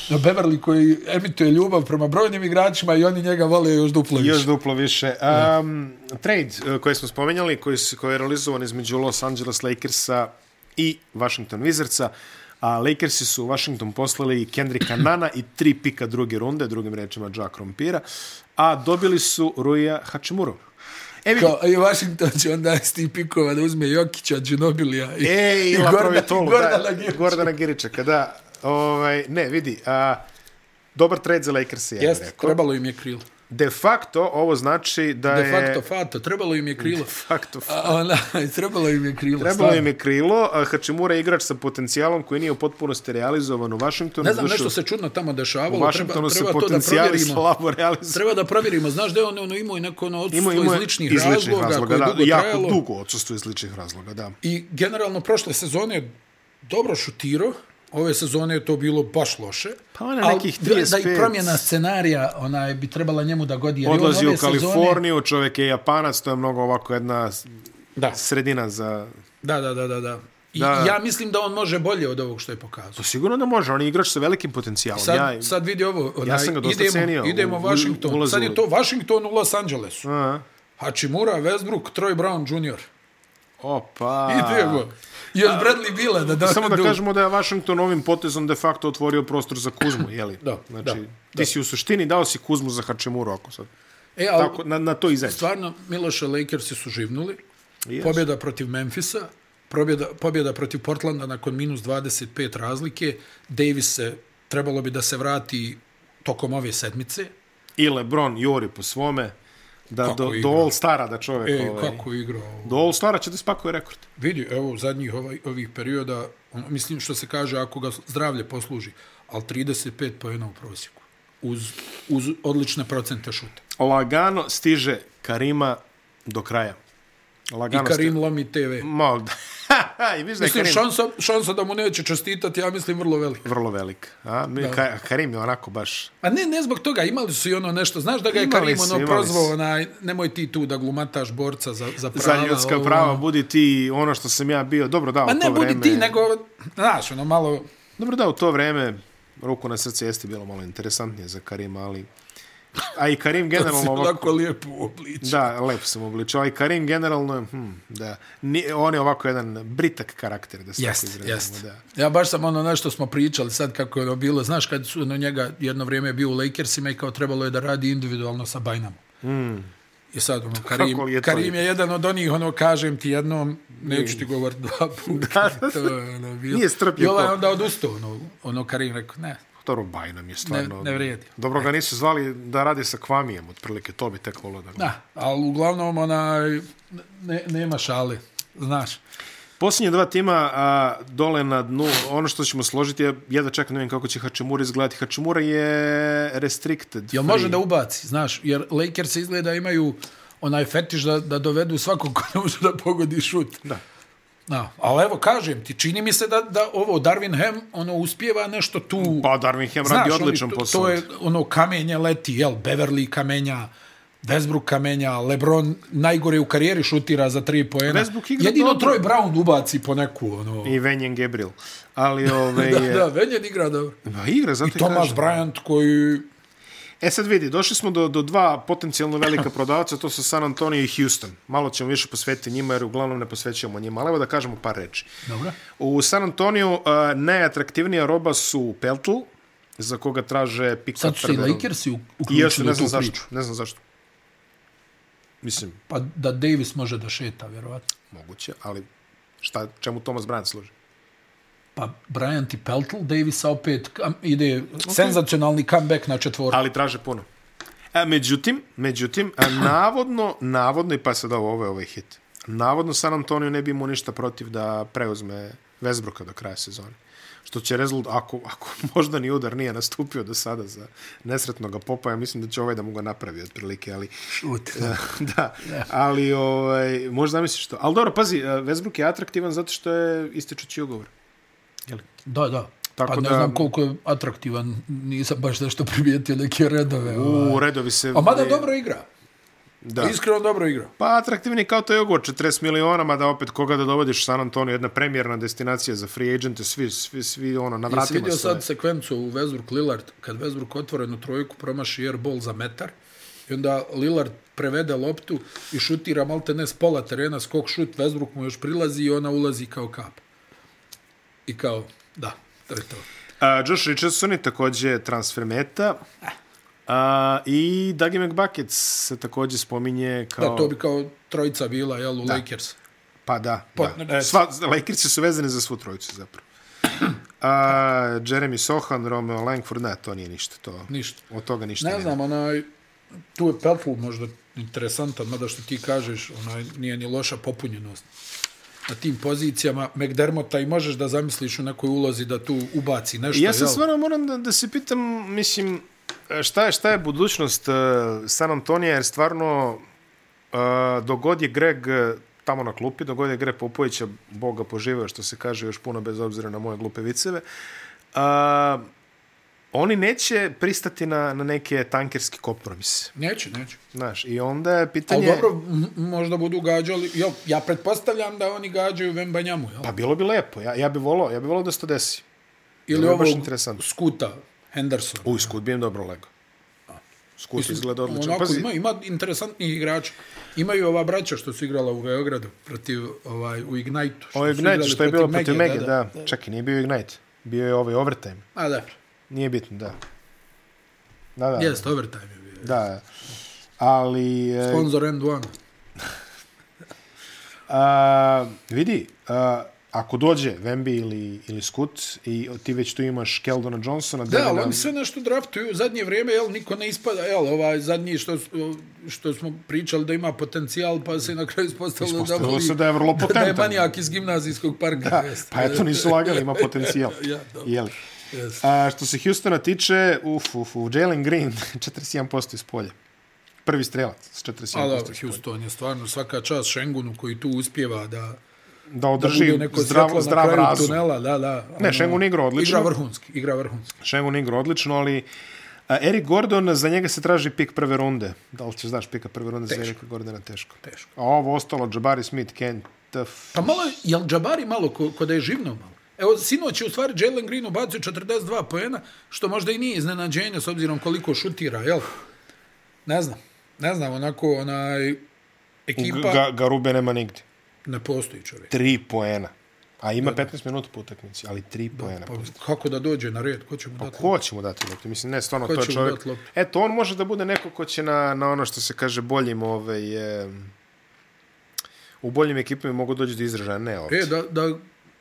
S2: Na Beverly koji emituje ljubav prema brojnim igračima i oni njega vole još duplo više.
S1: Još duplo više. Um, trade e, koji smo spomenjali, koji, se- koji je realizovan između Los Angeles Lakersa i Washington Wizardsa, a Lakersi su u Washington poslali Kendricka Nana i tri pika druge runde, drugim rečima Jack Rompira, a dobili su Ruija Hačimuru. E vidi,
S2: Kao, I Washington će onda s tih pikova da uzme Jokića, Džinobilija i,
S1: Ej,
S2: i
S1: E, i Laprove
S2: Gordana,
S1: Tolu.
S2: Gordana
S1: da,
S2: Girića.
S1: Gordana Giričaka, da. Ovaj, ne, vidi, a, dobar trade za Lakers je, ja bih
S2: Jeste,
S1: rekao.
S2: trebalo im je krilo.
S1: De facto, ovo znači da
S2: De
S1: je...
S2: facto, fato, trebalo im je krilo.
S1: facto.
S2: A, ona, trebalo im je krilo.
S1: Trebalo im je krilo, a Hačimura je igrač sa potencijalom koji nije u potpunosti realizovan u Vašingtonu.
S2: Ne znam,
S1: Doduše,
S2: nešto se čudno tamo
S1: U
S2: dešavalo. Treba,
S1: Vašingtonu se
S2: treba to da
S1: potencijali
S2: provjerimo.
S1: slabo realizovan.
S2: Treba da provjerimo. Znaš da je on ono, imao i neko ono odsustvo
S1: Ima, ima
S2: iz ličnih razloga, koje je
S1: da,
S2: dugo
S1: jako
S2: trajalo.
S1: dugo odsustvo iz ličnih razloga, da.
S2: I generalno prošle sezone je dobro šutirao. Ove sezone je to bilo baš loše.
S1: Pa on je
S2: Al
S1: nekih
S2: da- Da
S1: 35.
S2: i promjena scenarija onaj, bi trebala njemu da godi. jer je on
S1: Odlazi
S2: ove
S1: u
S2: sezone-
S1: Kaliforniju, čovjek je Japanac, to je mnogo ovako jedna s-
S2: Da,
S1: sredina za...
S2: da, da, da. da, da. I
S1: Da.
S2: ja mislim da on može bolje od ovog što je pokazao.
S1: Pa sigurno da može, on je igrač sa velikim potencijalom.
S2: Sad,
S1: ja,
S2: sad vidi ovo. Onaj,
S1: sam ga dosta
S2: idemo,
S1: cenio
S2: Idemo
S1: u- u-
S2: Washington.
S1: ulazu
S2: sad
S1: u
S2: je
S1: ligu.
S2: to Washington u Los Angelesu.
S1: A,
S2: Hachimura, Westbrook, Troy Brown Jr.
S1: opa.
S2: Idemo. I još Bradley Bila da da... [laughs]
S1: Samo da
S2: da-
S1: kažemo da je Washington ovim potezom de facto otvorio prostor za Kuzmu, jeli?
S2: [laughs] Da,
S1: znači,
S2: da,
S1: ti si u suštini dao si Kuzmu za Hačemuru, ako sad.
S2: E, ali
S1: Tako, na, na to izađe.
S2: stvarno, Miloše Lakersi su živnuli.
S1: Jesu.
S2: Pobjeda protiv Memfisa, pobjeda, pobjeda protiv Portlanda nakon minus 25 razlike. Davis se, trebalo bi da se vrati tokom ove sedmice.
S1: I Lebron juri po svome, da do, do
S2: igra?
S1: All Stara da čovek...
S2: E,
S1: ovaj,
S2: kako je igrao.
S1: Do All Stara će da spakuje rekord.
S2: Vidi, evo, zadnjih ovaj, ovih perioda, ono, mislim što se kaže, ako ga zdravlje posluži, ali 35 pojena u prosjeku. Uz, uz odlične procente šuta.
S1: Lagano stiže Karima do kraja. Lagano
S2: I Karim Lomi TV.
S1: Stiže. Malo, da. [laughs] I vidiš da je
S2: Mislim,
S1: Karim
S2: šansa, šansa da mu neće čestitati, ja mislim, vrlo velika.
S1: vrlo velik. A? Mi, Ka, Karim je onako baš...
S2: A ne, ne zbog toga, imali su i ono nešto. Znaš da ga je
S1: Imali
S2: Karim
S1: su,
S2: ono
S1: imali
S2: prozvao,
S1: su.
S2: onaj, nemoj ti tu da glumataš borca za, za prava.
S1: za ljudska
S2: ovo,
S1: prava,
S2: ono.
S1: budi ti ono što sam ja bio. Dobro da, u
S2: Pa
S1: to
S2: ne, budi
S1: vreme...
S2: ti, nego, znaš, ono, malo...
S1: Dobro da, u to vreme ruku na srce jeste bilo malo interesantnije za Karima, ali A i
S2: [laughs]
S1: Karim [laughs] generalno
S2: Generalno
S1: ovako...
S2: ovako lijepo obliči.
S1: Da, lepo sam obličao. A i Karim generalno je, hm, da. Ni, on je ovako jedan britak karakter, da se tako
S2: Jeste,
S1: izrazimo.
S2: jeste.
S1: Da.
S2: Ja baš sam ono nešto smo pričali sad kako je ono bilo. Znaš, kad su ono njega jedno vrijeme je bio u Lakersima i kao trebalo je da radi individualno sa Bajnamom. Mm. I sad, ono, Karim,
S1: li
S2: je
S1: je to?
S2: Karim je jedan od onih, ono, kažem ti jednom, neću ti govorit dva puta. [laughs] to je, ono, bilo.
S1: Nije strpljiv
S2: I ovaj
S1: ko.
S2: onda odustao, ono, ono Karim rekao, ne,
S1: Dobro, Bajnam je stvarno...
S2: Ne- ne vrijedi.
S1: Dobro ga nisu zvali da radi sa Kvamijem, otprilike, to bi tek volio da...
S2: da, ali uglavnom, onaj, ne, nema šale, znaš.
S1: Posljednje dva tima a, dole na dnu, ono što ćemo složiti je, ja da čekam, ne vidim kako će Hačemura izgledati. Hačemura je restricted.
S2: Jel može da ubaci, znaš, jer Lakers izgleda imaju onaj fetiš da, da dovedu svakog ko ne može da pogodi šut.
S1: Da.
S2: Da, ali evo kažem ti, čini mi se da, da ovo Darwin Ham ono uspjeva nešto tu.
S1: Pa Darwin Ham radi
S2: oni,
S1: odličan
S2: to,
S1: posao.
S2: To je ono kamenje leti, jel, Beverly kamenja, Westbrook kamenja, LeBron najgore u karijeri šutira za tri poena.
S1: Westbrook igra
S2: Jedino
S1: dobro.
S2: Troy Brown ubaci po neku, ono.
S1: I Venjen Gabriel.
S2: [laughs]
S1: Ali ove,
S2: Da,
S1: je,
S2: da, Venjen igra dobro.
S1: Pa igra, zato i
S2: Thomas
S1: kažem.
S2: Bryant koji
S1: E sad vidi, došli smo do, do dva potencijalno velika prodavca, to su San Antonio i Houston. Malo ćemo više posvetiti njima jer uglavnom ne posvećujemo njima, ali evo da kažemo par reči.
S2: Dobro.
S1: U San Antonio uh, najatraktivnija roba su Peltl, za koga traže pick
S2: Sad su se i
S1: prve
S2: Lakersi u-
S1: I još se
S2: uključili
S1: ne
S2: u tu
S1: znam zašto,
S2: priču.
S1: ne znam zašto. Mislim,
S2: Pa da Davis može da šeta, vjerovatno.
S1: moguće, ali šta, čemu Thomas Bryant služi?
S2: Pa Bryant i Peltl, Davisa opet kam, ide senzacionalni comeback na četvorku.
S1: Ali traže puno. A, međutim, međutim,
S2: [clears throat]
S1: a, navodno, navodno, i pa sad ovo, ovo je ovaj hit, navodno San Antonio ne bi imao ništa protiv da preuzme Westbrooka do kraja sezone. Što će rezultat, ako, ako [laughs] možda ni udar nije nastupio do sada za nesretnog popa, ja mislim da će ovaj da mu ga napravi otprilike, ali
S2: Šut.
S1: [laughs] da, ali ovaj, možda misliš to. Ali dobro, pazi, eh, Westbrook je atraktivan zato što je ističući ugovor.
S2: Da, da. Tako
S1: Tako
S2: pa ne
S1: da-
S2: znam koliko je atraktivan, nisam baš nešto primijetio neke redove. ovaj.
S1: U, redovi se...
S2: A mada dobro igra,
S1: Da.
S2: iskreno dobro igra.
S1: Pa atraktivni kao taj ugovor, 40 miliona, mada opet koga da dovodiš San Antonio, jedna premjerna destinacija za free agente, svi, svi, svi ono, na
S2: Jesi
S1: vratima
S2: vidio
S1: se.
S2: sad sekvencu u Westbrook Lillard, kad Westbrook otvorenu trojku promaši airball za metar, i onda Lillard prevede loptu i šutira malte ne s pola terena, skok šut, Westbrook mu još prilazi i ona ulazi kao kap. I kao, da, to je to.
S1: A, Eh, Josh Richardson je takođe transfer meta.
S2: Eh.
S1: A, I Dagi McBucket se takođe spominje kao...
S2: Da, to bi kao trojica bila, jel, u da. Lakers.
S1: Pa da,
S2: Pa, ne-
S1: da. Sva, Lakersi su vezani za svu trojicu zapravo. [clears throat] A, Jeremy Sohan, Romeo Langford, ne, to nije ništa. To,
S2: Ništa.
S1: Od toga ništa
S2: Ne
S1: nije.
S2: znam, onaj, tu je Petl možda interesantan, mada što ti kažeš, onaj, nije ni loša popunjenost. Na tim pozicijama McDermotta i možeš da zamisliš u nekoj ulozi da tu ubaci nešto.
S1: Ja se
S2: jel?
S1: stvarno moram da, da se pitam, mislim, šta je, šta je budućnost uh, San Antonija, jer stvarno uh, dogod je Greg eh, tamo na klupi, dogod je Greg Popovića, Boga poživeo, što se kaže još puno bez obzira na moje glupe viceve, uh, oni neće pristati na, na neke tankerski kompromise.
S2: Neće, neće.
S1: Znaš, i onda je
S2: Ali
S1: pitanje...
S2: dobro, m- možda budu gađali, jel, ja pretpostavljam da oni gađaju Vembanjamu, jel?
S1: Pa bilo bi lepo, ja, ja bi volao, ja bi volao da se to desi.
S2: Ili
S1: bilo je baš
S2: ovog
S1: interesantno.
S2: skuta, Henderson.
S1: Uj, Skut bi im dobro lego. Skut izgleda odlično.
S2: Onako, ima, ima interesantnih igrača. Imaju ova braća što su igrala u Beogradu protiv, ovaj, u Ignite-u.
S1: Ovo je
S2: su
S1: Ignite
S2: igrali
S1: što je bilo protiv Mege, da. da. Čak i nije bio Ignite. Bio je ovaj overtime.
S2: A da,
S1: Nije bitno, da. Da, da.
S2: jest, overtime je bio.
S1: Da. Ali, e,
S2: Sponsor end one.
S1: a, vidi, a, ako dođe Wemby ili, ili Scoot i ti već tu imaš Keldona Johnsona,
S2: Da, ali
S1: Devina-
S2: oni sve nešto draftuju u zadnje vrijeme, jel, niko ne ispada, jel, ovaj zadnji što, su- što smo pričali da ima potencijal, pa se na kraju ispostavilo,
S1: Ispostavilo
S2: voli-
S1: se da je vrlo
S2: [laughs] Da je
S1: potentan.
S2: manijak iz gimnazijskog parka. Da,
S1: pa eto,
S2: [laughs]
S1: nisu lagali, ima potencijal.
S2: Ja, dobro.
S1: Jeli.
S2: Jest.
S1: A, što se Houstona tiče, uf, uf, uf, Jalen Green, [laughs] 41% iz polja. Prvi strelac s 41%.
S2: Ali
S1: iz
S2: dobro,
S1: polja.
S2: Houston je stvarno svaka čast Šengunu koji tu uspjeva da,
S1: Da
S2: da
S1: održi
S2: bude neko
S1: zdrav,
S2: svjetlo na
S1: zdrav
S2: kraju
S1: razum.
S2: tunela. Da, da,
S1: Ne,
S2: ono,
S1: Šengun igra odlično.
S2: Igra vrhunski, igra vrhunski.
S1: Šengun igra odlično, ali a, Eric Gordon, za njega se traži pik prve runde. Da li ćeš znaš pika prve runde teško. za Erika Gordona? Teško.
S2: Teško.
S1: A ovo ostalo, Jabari Smith, Kent, Tuff.
S2: Pa malo, je- jel Džabari malo, ko, ko da je živno malo? Evo, sinoć je u stvari Jalen Green ubacio 42 poena, što možda i nije iznenađenje s obzirom koliko šutira, jel? Ne znam. Ne znam, onako, onaj... Ekipa
S1: Ga, Garube nema nigde.
S2: ne postoji čovjek.
S1: Tri poena. A ima 15 minuta po utakmici, ali tri poena.
S2: Pa, kako da dođe na red? Ko će mu dati?
S1: Ko će mu dati loptu? Mislim, ne, stvarno,
S2: Ko
S1: to je
S2: će mu
S1: čovjek...
S2: dati loptu?
S1: Eto, on može da bude neko ko će na, na ono što se kaže boljim, ovaj, em, u boljim ekipima mogu doći do izražaja, ne ovdje.
S2: E, da, da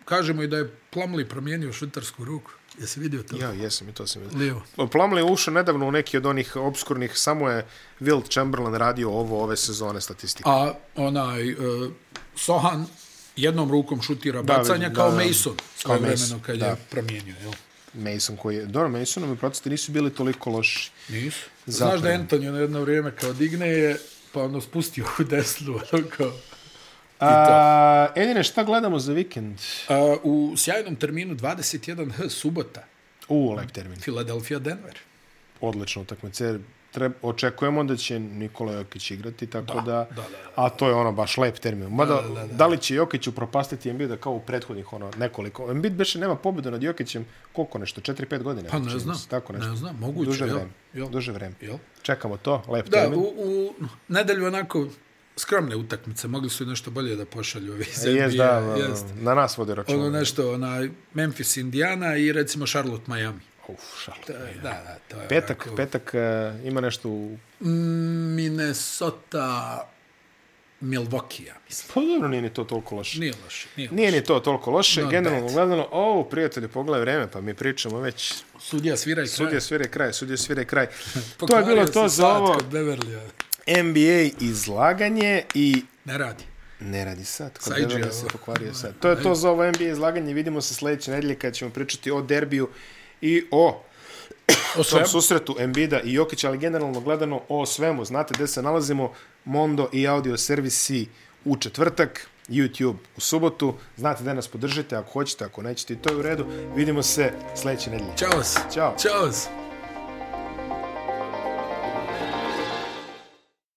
S2: kažemo i da je Plamli promijenio švitarsku ruku. Jesi vidio to?
S1: Ja, jesam i to sam vidio.
S2: Lijevo.
S1: Plumlee je ušao nedavno u neki od onih obskurnih, samo je Wilt Chamberlain radio ovo ove sezone statistike.
S2: A onaj uh, Sohan jednom rukom šutira
S1: da,
S2: bacanja da, kao
S1: da.
S2: da, Mason
S1: Kao
S2: kao vremeno
S1: Mason,
S2: kad
S1: da.
S2: je promijenio. Jel?
S1: Mason koji je... Dobro, Masonovi procenti nisu bili toliko loši.
S2: Nisu.
S1: Zapravo.
S2: Znaš da je Antonio na jedno vrijeme kao digne je, pa ono spustio u desnu. [laughs] Ono kao.
S1: A, Edine, šta gledamo za vikend?
S2: A, u sjajnom terminu 21 subota,
S1: U, lep termin.
S2: Philadelphia Denver.
S1: Odlična utakmica. Treb, očekujemo da će Nikola Jokić igrati, tako da...
S2: da, da, da.
S1: A to je ono baš lep termin. Mada, da, da, da. da li će Jokić upropastiti Embiida kao u prethodnih ono, nekoliko? Embiid beše nema pobjedu nad Jokićem koliko nešto, 4-5 godina.
S2: Pa ne
S1: čini mi
S2: znam,
S1: se, Tako nešto.
S2: ne znam, moguće.
S1: Duže
S2: jel?
S1: vreme.
S2: Jel?
S1: Duže vreme.
S2: Jel?
S1: Čekamo to, lep
S2: Da,
S1: termin.
S2: u, u nedelju onako skromne utakmice, mogli su i nešto bolje da pošalju ovi iz
S1: Jes,
S2: NBA,
S1: da, da,
S2: jest.
S1: na nas vode računa.
S2: Ono nešto, onaj Memphis, Indiana i recimo Charlotte, Miami.
S1: Uf, šalo.
S2: Da, da, da to je
S1: Petak,
S2: onako-
S1: petak e, ima nešto u...
S2: Minnesota, Milwaukee, ja mislim.
S1: Pa dobro, nije ni to toliko loše.
S2: Nije loše, nije loše.
S1: Nije ni to toliko loše,
S2: Not
S1: generalno
S2: bad.
S1: gledano, o, prijatelji, pogledaj vreme, pa mi pričamo već,
S2: Sudija svira i
S1: sudje svire kraj, sudje svire
S2: [laughs]
S1: kraj.
S2: kraj.
S1: to je bilo
S2: Pokvario
S1: to
S2: se
S1: za
S2: sat
S1: ovo
S2: kod Beverlya.
S1: NBA izlaganje i
S2: Ne radi.
S1: ne radi sad, kod
S2: Sa IGL.
S1: Beverly se pokvario sad. To je to za ovo NBA izlaganje, vidimo se sljedeće nedelje kada ćemo pričati o derbiju i o
S2: O
S1: tom
S2: svemu.
S1: susretu Embida i Jokića, ali generalno gledano o svemu. Znate gde se nalazimo, Mondo i audio servisi u četvrtak, YouTube u subotu. Znate gde nas podržite, ako hoćete, ako nećete i to je u redu. Vidimo se sljedeće nedelje.
S2: Ćao se.
S1: Ćao.
S2: Ćao se.